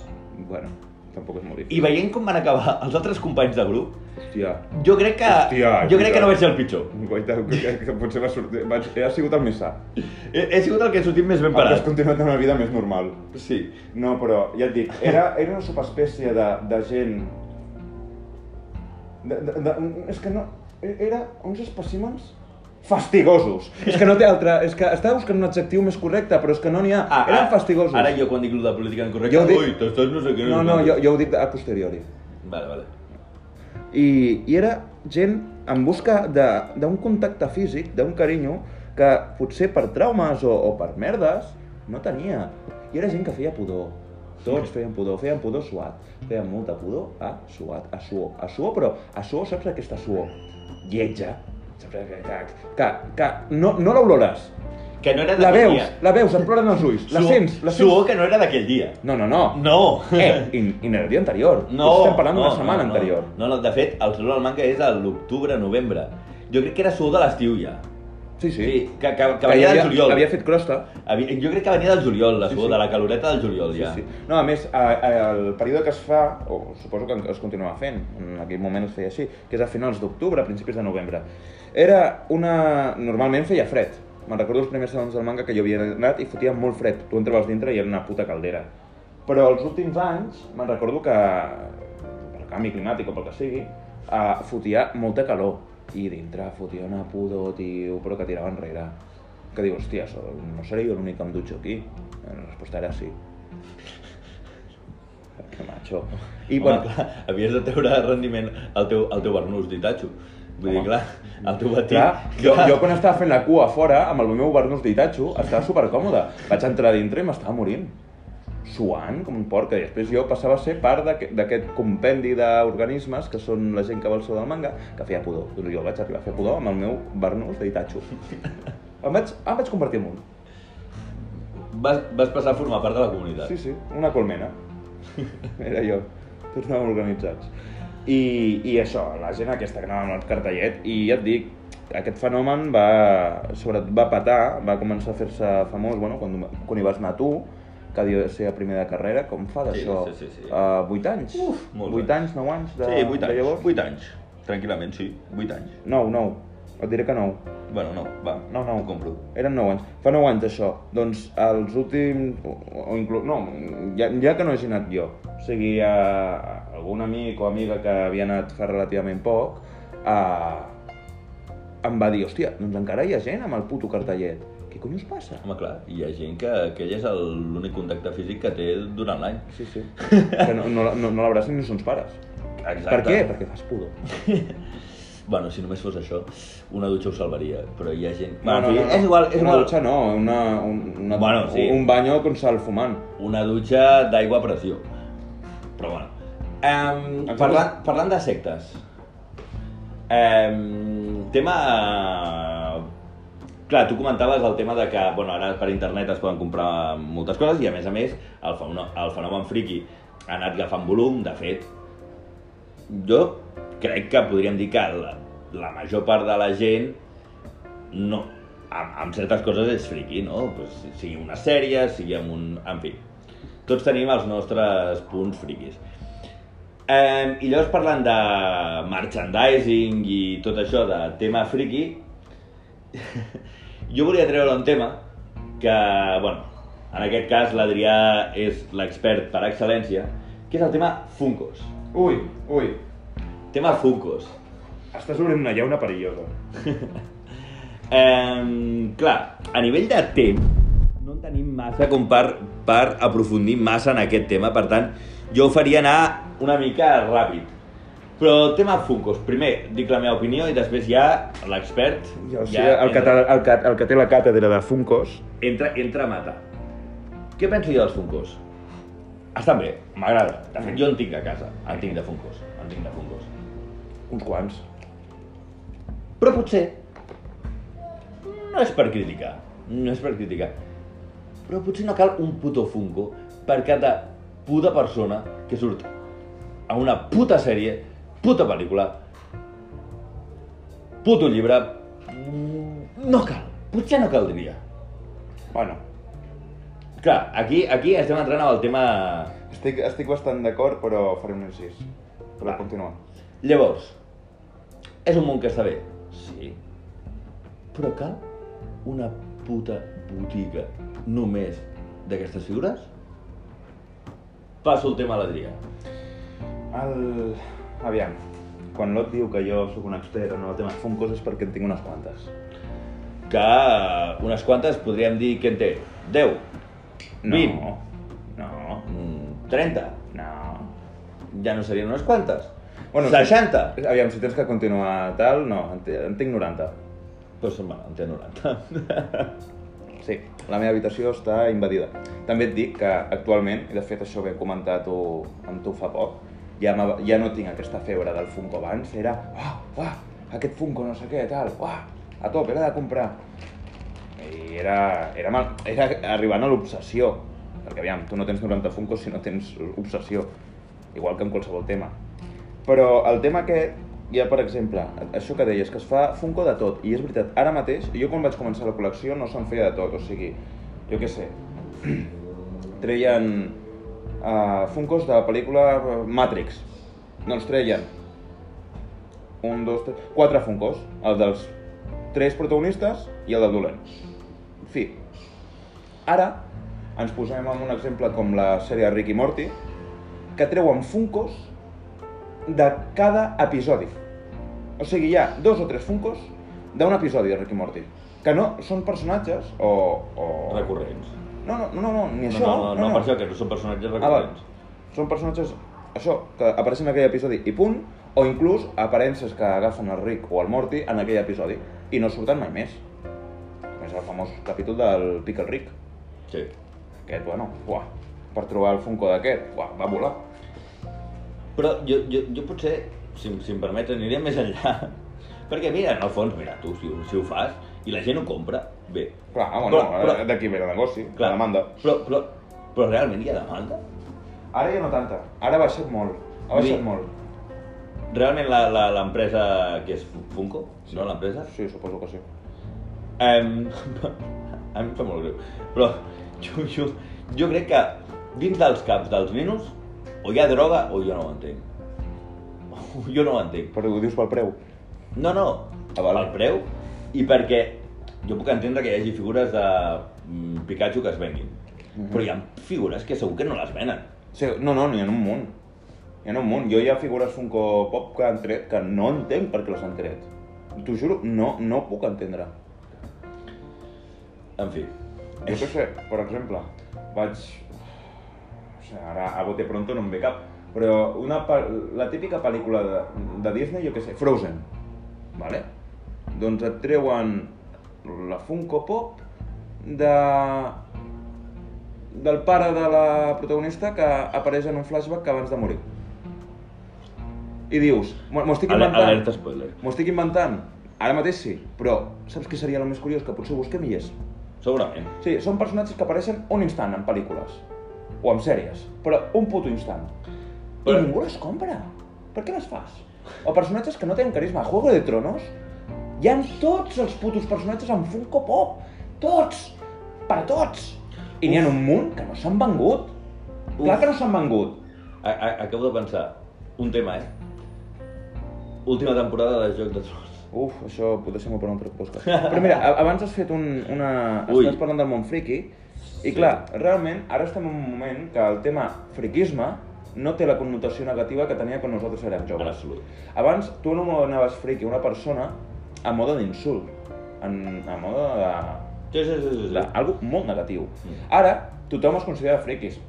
B: Bueno, tampoc és molt difícil.
A: I veient com van acabar els altres companys de grup,
B: Hòstia.
A: jo crec que,
B: Hòstia,
A: jo crec que
B: mira.
A: no vaig ser el pitjor.
B: Guaita, que, que potser va sortir... Vaig, ha sigut el més sa.
A: He, he sigut el que he sortit més ben
B: Has
A: parat.
B: continuat una vida més normal.
A: Sí.
B: No, però ja et dic, era, era una subespècie de, de gent... De, de, de, és que no... Era uns espècimens fastigosos. És que no té altre... És que estava buscant un adjectiu més correcte, però és que no n'hi ha.
A: Ah,
B: Eren
A: ah,
B: fastigosos.
A: Ara jo quan dic lo de política incorrecta,
B: Jo dic-
A: ui, t'estàs no sé què...
B: No, no, jo, jo ho dic a posteriori.
A: Vale, vale.
B: I, i era gent en busca de- d'un contacte físic, d'un carinyo, que potser per traumes o, o per merdes no tenia. I era gent que feia pudor. Tots feien pudor, feien pudor suat. Feien molta pudor a suat, a suor. A suor, però a suor saps aquesta suor? Lletja. Saps que, que, que, que no, no l'olores.
A: Que no era
B: La
A: d'aquell
B: veus,
A: dia.
B: la veus, et ploren els ulls. La
A: Suor-
B: sents, la
A: Suor
B: sents.
A: que no era d'aquell dia.
B: No, no, no.
A: No.
B: Eh, i, i en el dia anterior.
A: No.
B: Estem parlant d'una
A: no,
B: setmana
A: no, no.
B: anterior.
A: No, no, de fet, el Saló del Manca és a l'octubre, novembre. Jo crec que era suor de l'estiu ja.
B: Sí, sí.
A: Sí, que, que, que
B: Que ja
A: venia del
B: havia,
A: juliol.
B: havia fet crosta.
A: Havia, jo crec que venia del juliol, la
B: Sí,
A: suor,
B: sí.
A: de la caloreta del juliol,
B: Sí,
A: ja.
B: sí. No, a més, a, a, el període que es fa, o suposo que es continuava fent, en aquell moment es feia així, que és a finals d'octubre, principis de novembre, era una... normalment feia fred. Me'n recordo els primers salons del manga que jo havia anat i fotia molt fred. Tu entraves dintre i era una puta caldera. Però els últims anys me'n recordo que, per canvi climàtic o pel que sigui, uh, fotia molta calor. I dintre fotia una pudor, tio, però que tirava enrere. Que diu, hòstia, so- no seré jo l'únic que em dutxo aquí? La resposta era sí. Eh, Que macho. I,
A: I Home,
B: bueno,
A: clar, havies de treure de rendiment el teu, el teu barnús d'Itacho. Vull dir,
B: Home.
A: clar, el teu batí...
B: Clar, jo, jo quan estava fent la cua a fora, amb el meu barnús d'Itacho, estava supercòmode. Vaig entrar dintre i m'estava morint. Suant com un porc, que després jo passava a ser part d'aquest- d'aquest compendi d'organismes que són la gent que va al sol del manga, que feia pudor. Doncs jo vaig arribar a fer pudor amb el meu barnús d'Itacho. Em vaig, em vaig convertir en un.
A: Vas, vas passar a formar part de la comunitat.
B: Sí, sí, una colmena. Era jo. Tots anàvem organitzats. I, I això, la gent aquesta que anava amb el cartellet, i ja et dic, aquest fenomen va, sobre, va patar, va començar a fer-se famós, bueno, quan, quan hi vas anar tu, que havia de ser a primer de carrera, com fa
A: Sí,
B: d'això?
A: sí, sí, sí.
B: Uh, 8 anys?
A: Uf, molts
B: 8 anys, 9 anys de,
A: sí 8
B: de
A: anys.
B: llavors?
A: 8 anys. Tranquil·lament, sí. 8 anys.
B: 9, 9. Et diré que 9.
A: Bueno, no, va,
B: No, no.
A: ho compro.
B: Eren 9 anys. Fa 9 anys això. Doncs els últims... O, o inclús... No, ja, ja que no he anat jo. O sigui, a, algun amic o amiga que havia anat fa relativament poc, a, em va dir, hòstia, doncs encara hi ha gent amb el puto cartellet. Què coño us passa?
A: Home, clar, hi ha gent que aquell és el- l'únic contacte físic que té durant l'any.
B: Sí, sí. Que no, no, no, no l'abracen ni sons pares.
A: Exacte.
B: Per què? Perquè fas pudor.
A: Bueno, si només fos això, una dutxa ho salvaria, però hi ha gent...
B: No,
A: en
B: no,
A: fi,
B: no, no.
A: És igual, és
B: una
A: igual.
B: dutxa no, una, un, una,
A: Bueno, sí.
B: un banyo con sal fumant.
A: Una dutxa d'aigua a pressió. Però bueno. Um,
B: Exacte.
A: parlant, parlant de sectes. Um, tema... Clar, tu comentaves el tema de que bueno, ara per internet es poden comprar moltes coses i a més a més el, fenò- el fenomen friki ha anat agafant volum, de fet. Jo crec que podríem dir que la, la major part de la gent no, amb, amb certes coses és friqui, no? Pues, si- sigui una sèrie, sigui amb un... En fi, tots tenim els nostres punts friquis. Um, I llavors parlant de merchandising i tot això de tema friqui, jo volia treure un tema que, bueno, en aquest cas l'Adrià és l'expert per excel·lència, que és el tema Funkos.
B: Ui, ui.
A: Tema Funkos.
B: Estàs obrint una llauna perillosa.
A: Eh, clar, a nivell de temps, no en tenim massa com per, per aprofundir massa en aquest tema, per tant, jo ho faria anar una mica ràpid. Però el tema Funkos, primer dic la meva opinió i després ja l'expert
B: Ja, eh, o sigui,
A: ja
B: el, que,
A: entra,
B: el, que, el que té la càtedra de Funkos...
A: entra, entra a matar. Què penso jo dels Funkos? Estan bé, m'agrada. De fet, jo en tinc a casa, en tinc de Funkos, en tinc de Funkos.
B: Uns quants.
A: Però potser no és per criticar, no és per criticar. Però potser no cal un puto Funko per cada puta persona que surt a una puta sèrie, puta pel·lícula, puto llibre... mm, No cal, potser no caldria.
B: Bueno,
A: Clar, aquí, aquí estem entrant amb el tema...
B: estic, estic bastant d'acord, però faré un incís. Però
A: Va.
B: continua.
A: Llavors, és un món que està bé, sí, però cal una puta botiga només d'aquestes figures? Passo el tema a l'Adrià.
B: El... Aviam, quan Lot diu que jo sóc un expert en el tema Funkos és perquè en tinc unes quantes.
A: Que eh, unes quantes podríem dir que en té 10,
B: No,
A: Vint.
B: no,
A: mm, 30,
B: no.
A: ja no serien unes quantes.
B: Bueno,
A: Bueno, 60, doncs
B: Aviam, si tens que continuar tal, no, en, té- en tinc 90.
A: pues, home, en té 90.
B: Sí, la meva habitació està invadida. També et dic que actualment, i de fet això ho vam comentar tu, amb tu fa poc, ja, m'ha- ja no tinc aquesta febre del Funko abans, era uah, uah, aquest Funko no sé què, tal, uah, a top, era de comprar. I era, era, mal, era arribant a l'obsessió, perquè aviam, tu no tens 90 Funkos si no tens obsessió, igual que en qualsevol tema. Però el tema aquest hi ha, per exemple, això que deies, que es fa Funko de tot, i és veritat, ara mateix, jo quan vaig començar la col·lecció no se'n feia de tot, o sigui, jo què sé, treien uh, Funkos de la pel·lícula Matrix, doncs treien un, dos, tres, quatre Funkos, el dels tres protagonistes i el del dolent. En fi, ara ens posem amb un exemple com la sèrie Rick i Morty, que treuen Funkos de cada episodi. O sigui, hi ha dos o tres Funkos d'un episodi de Rick i Morty, que no són personatges o... o...
A: Recurrents.
B: No, no, no, no, ni això.
A: no, no, no, no, per això, que no són personatges
B: Ah, val.
A: recurrents.
B: Són personatges, això, que apareixen en aquell episodi i punt, o inclús aparences que agafen el Rick o el Morty en aquell episodi i no surten mai més. Més el famós capítol del Pickle Rick.
A: sí.
B: Aquest, bueno, uah, per trobar el Funko d'aquest, uah, va volar.
A: Però jo, jo, jo potser, si, em- si em permet, aniré més enllà. Perquè mira, en el fons, mira, tu, si, ho- si ho fas i la gent ho compra, bé.
B: Clar, ah, bueno, eh,
A: Però- però-
B: d'aquí ve el negoci,
A: Clar,
B: la demanda.
A: Però, però, però realment hi ha demanda?
B: Ara ja no tanta, ara ha baixat molt, ha baixat
A: Sí.
B: molt.
A: Realment la- la- l'empresa que és Fu- Funko, no l'empresa,
B: Sí, suposo que sí.
A: Em, a mi em fa molt greu, però jo, jo, jo crec que dins dels caps dels nenos o hi ha droga o jo no ho entenc. O jo no ho entenc.
B: Però ho dius pel preu.
A: No, no,
B: Ah, val.
A: el preu i perquè jo puc entendre que hi hagi figures de mm, Pikachu que es venguin,
B: Mhm.
A: però hi ha figures que segur que no les venen.
B: Sí, no, no, n'hi ha un munt. N'hi ha un munt. Jo hi ha figures Funko Pop que han tret que no entenc per què les han tret. T'ho juro, no, no ho puc entendre.
A: En fi,
B: Jo què sé, per exemple, vaig... O sigui, ara a bote pronto no em ve cap, però una, pe- la típica pel·lícula de, de Disney, jo què sé, Frozen, vale? Doncs et treuen la Funko Pop de del pare de la protagonista que apareix en un flashback que abans de morir. I dius, m'ho m'ho estic
A: ale-
B: inventant.
A: alerta spoiler.
B: M'ho estic inventant. Ara mateix sí, però saps què seria el més curiós? Que potser ho busquem i és.
A: Segurament.
B: Sí, són personatges que apareixen un instant en pel·lícules. O en sèries. Però un puto instant.
A: Però-
B: I ningú les compra. Per què les fas? O personatges que no tenen carisma. A Juego de Tronos hi han tots els putos personatges en Funko Pop. Tots. Per tots. I n'hi ha un munt que no s'han vengut.
A: Uf.
B: Clar que no s'han vengut.
A: A, a, acabo de pensar, un tema, eh? Última temporada de Joc de Trons.
B: Uf, això pot ser molt per un altre podcast. Però mira, a- abans has fet un, una...
A: Ui.
B: Estàs parlant del món friki,
A: Sí.
B: i clar, realment, ara estem en un moment que el tema friquisme no té la connotació negativa que tenia quan nosaltres érem
A: En
B: joves.
A: absolut.
B: Abans, tu no anaves friqui a una persona a moda d'insult, en, a moda de
A: Sí, sí, sí, sí. sí.
B: de, algo molt negatiu.
A: Mm.
B: Ara, tothom es considera friquis.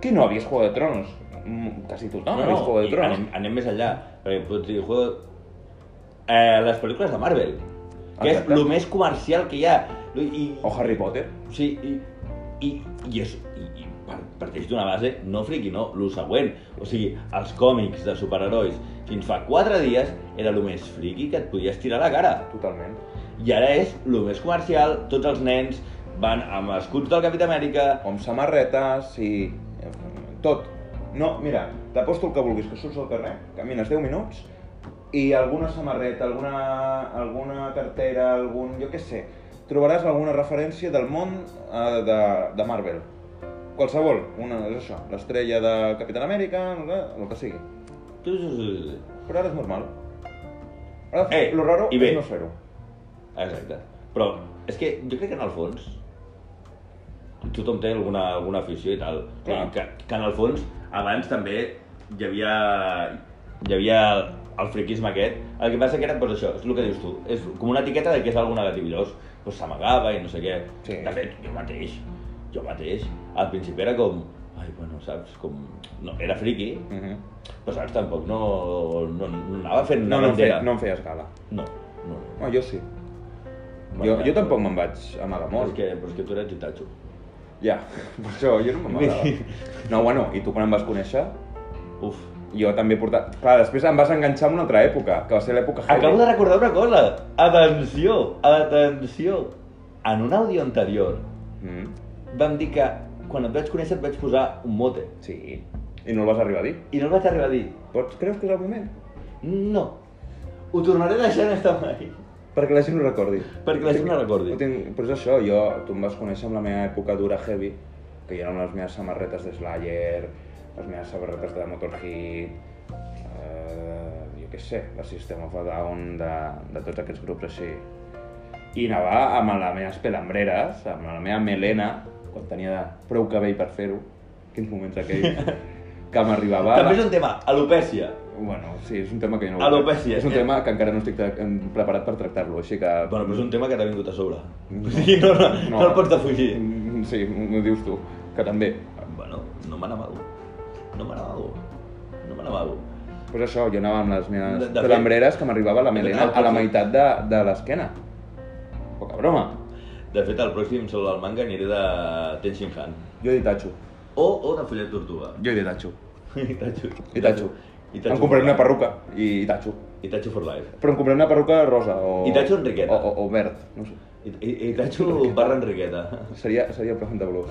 B: Qui no ha vist Juego de Tronos? Mm, Quasi tothom ha vist Juego de
A: i
B: Tronos.
A: anem, anem més enllà, perquè pots dir juego... Eh, les pel·lícules de Marvel, que
B: Exacte.
A: és el més comercial que hi ha. I,
B: O Harry Potter.
A: Sí, i, i, i, és, i, i par- parteix d'una base, no friqui, no, lo següent. O sigui, els còmics de superherois fins fa 4 dies era el més friqui que et podies tirar a la cara.
B: Totalment.
A: I ara és el més comercial, tots els nens van amb escuts del Capità Amèrica,
B: o amb samarretes i... tot. No, mira, t'aposto el que vulguis, que surts al carrer, camines 10 minuts i alguna samarreta, alguna, alguna cartera, algun... jo què sé, trobaràs alguna referència del món eh, de, de Marvel. Qualsevol, una és això, l'estrella de Capitán Amèrica, el que sigui.
A: Sí, sí, sí, sí.
B: Però ara és normal. Ara,
A: Eh,
B: lo raro
A: i bé.
B: és no fer-ho.
A: Exacte. Però és que jo crec que en el fons tothom té alguna, alguna afició i tal.
B: Clar.
A: Que, que en el fons abans també hi havia, hi havia el, el friquisme aquest. El que passa que era doncs, això, és el que dius tu. És com una etiqueta de que és algo negatiu. Llavors doncs, s'amagava i no sé què.
B: Sí.
A: De fet, jo mateix, jo mateix, al principi era com... Ai, bueno, saps, com... No, era friqui,
B: Uh -huh.
A: però saps, tampoc no, no, no anava fent una
B: No, no, em
A: bandera.
B: feia, no em feies gala.
A: no, no. no.
B: No, jo sí. Jo, jo tampoc me'n vaig amagar
A: Però
B: molt.
A: és que, però és que tu eres Itacho.
B: Ja, per això jo no m'agradava. No, bueno, i tu quan em vas conèixer,
A: Uf.
B: jo també portava... Clar, després em vas enganxar en una altra època, que va ser l'època heavy.
A: Acabo de recordar una cosa. Atenció, atenció. En un àudio anterior
B: Mm,
A: vam dir que quan et vaig conèixer et vaig posar un mote.
B: sí. I no el vas arribar a dir.
A: I no el vaig arribar a dir.
B: Pots, creus que és el moment?
A: No. Ho tornaré a deixar en esta mai.
B: Perquè la gent ho recordi.
A: Perquè la gent ho recordi.
B: Ho tinc... Però és això, jo, tu em vas conèixer amb la meva època dura heavy, que jo amb les meves samarretes de Slayer, les meves samarretes de Motorhead, eh, jo què sé, de System of a Down, de, de tots aquests grups així. I anava amb les meves pelambreres, amb la meva melena, quan tenia prou cabell per fer-ho, quins moments aquells, que m'arribava...
A: També
B: la-
A: és un tema, alopècia.
B: Bueno, sí, és un tema que jo no...
A: Alopècia.
B: És un tema que encara no estic tra- em- preparat per tractar-lo, així que...
A: Bueno, però és un tema que t'ha vingut a sobre.
B: No.
A: No, no, no, no, el pots defugir.
B: Mm, Sí, ho dius tu, que també.
A: Bueno, no me n'amago. No me n'amago. No me n'amago.
B: Pues això, jo anava amb les meves
A: De- de fet-
B: pelambreres que m'arribava la melena
A: fet,
B: a la
A: sí.
B: meitat de, de l'esquena. Poca broma.
A: De fet, el pròxim sobre el manga aniré de Tenshin Han.
B: Jo he dit tatxo.
A: O, o de Follet Tortuga.
B: Jo he dit tatxo.
A: Itachu.
B: Itachu.
A: Itachu.
B: Em compraré una perruca i tatxo.
A: Itachu for life.
B: Però em compraré una perruca rosa o...
A: I tatxo Enriqueta.
B: O, o, o verd, no sé.
A: I- I- Itachu barra Enriqueta.
B: Seria, seria Placenta Blues.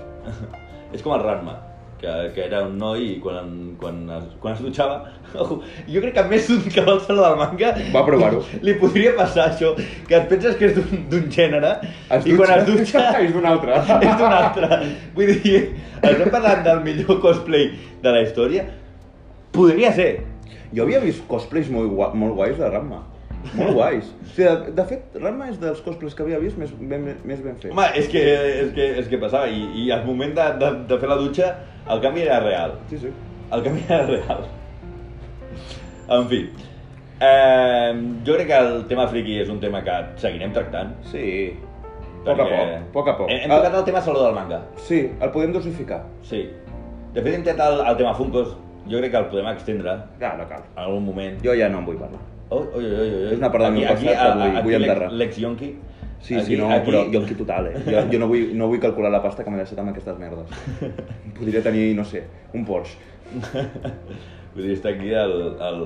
A: És com el Ranma, que, que era un noi i quan, quan, es, quan es dutxava... Ojo, jo crec que més d'un que vol ser del manga...
B: Va provar-ho.
A: Li podria passar això, que et penses que és d'un- d'un gènere
B: Es
A: i quan es dutxa
B: dutxa és d'un altre.
A: és d'un altre. Vull dir, estem parlant del millor cosplay de la història? Podria ser.
B: Jo havia vist cosplays molt, gua molt guais de Ranma. Molt guais. O sigui, de, de fet, Ranma és dels cosplays que havia vist més ben, més ben fet.
A: Home, és que, és que, és que passava i, i al moment de, de, de fer la dutxa el canvi era real.
B: Sí, sí.
A: El camí era real. En fi. Eh, jo crec que el tema friki és un tema que seguirem tractant.
B: Sí. A poc a
A: perquè
B: poc, a poc a poc. Ah,
A: Hem, hem tocat el tema saló del manga.
B: Sí, el podem dosificar.
A: Sí. De fet, hem tractat el, el tema Funkos. Jo crec que el podem extendre
B: Ja, no cal.
A: en algun moment.
B: Jo ja no en vull parlar.
A: Oi, oi, oi, oi, oi.
B: És una part del meu
A: Aquí-
B: passat que
A: aquí,
B: vull- vull
A: aquí l'ex-
B: enterrar.
A: L'ex Yonki.
B: Sí, sí, no, però jo aquí total, eh? Jo, jo no, vull, no vull calcular la pasta que m'he deixat amb aquestes merdes. Podria tenir, no sé, un Porsche.
A: Vull dir, està aquí el... el...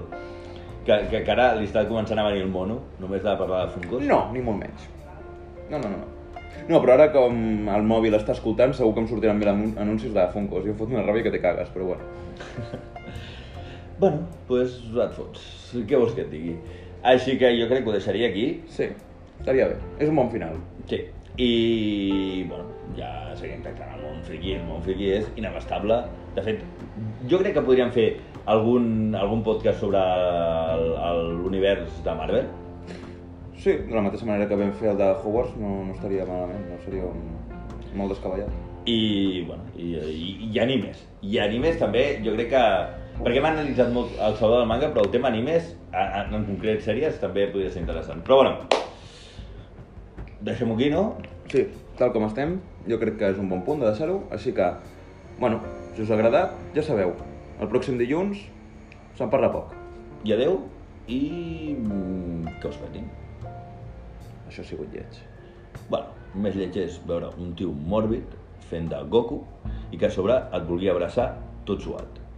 A: Que, que, que ara li està començant a venir el mono, només de parlar de Funkos.
B: No, ni molt menys. No, no, no. no. No, però ara com el mòbil està escoltant, segur que em sortiran mil anun- anuncis de Funkos. Jo fot una ràbia que te cagues, però bueno.
A: Bueno, doncs pues, et fots. Què vols que et digui? Així que jo crec que ho deixaria aquí.
B: Sí, estaria bé. És un bon final.
A: Sí. I, bueno, ja seguim tractant el món friqui. El món friqui és inabastable. De fet, jo crec que podríem fer algun, algun podcast sobre el- el- l'univers de Marvel.
B: Sí, de la mateixa manera que vam fer el de Hogwarts, no, no estaria malament, no seria un... molt descabellat.
A: I, bueno, i, i, i animes. I animes també, jo crec que... Perquè hem analitzat molt el saló del manga, però el tema animes, en, en- en concret sèries, també podria ser interessant. Però bueno, deixem-ho aquí, no?
B: Sí, tal com estem, jo crec que és un bon punt de deixar-ho, així que, bueno, si us ha agradat, ja sabeu, el pròxim dilluns se'n parla poc.
A: I adeu i mm, que us petin.
B: Això ha sigut lleig.
A: Bueno, més lleig és veure un tio mòrbid fent de Goku i que a sobre et vulgui abraçar tot suat.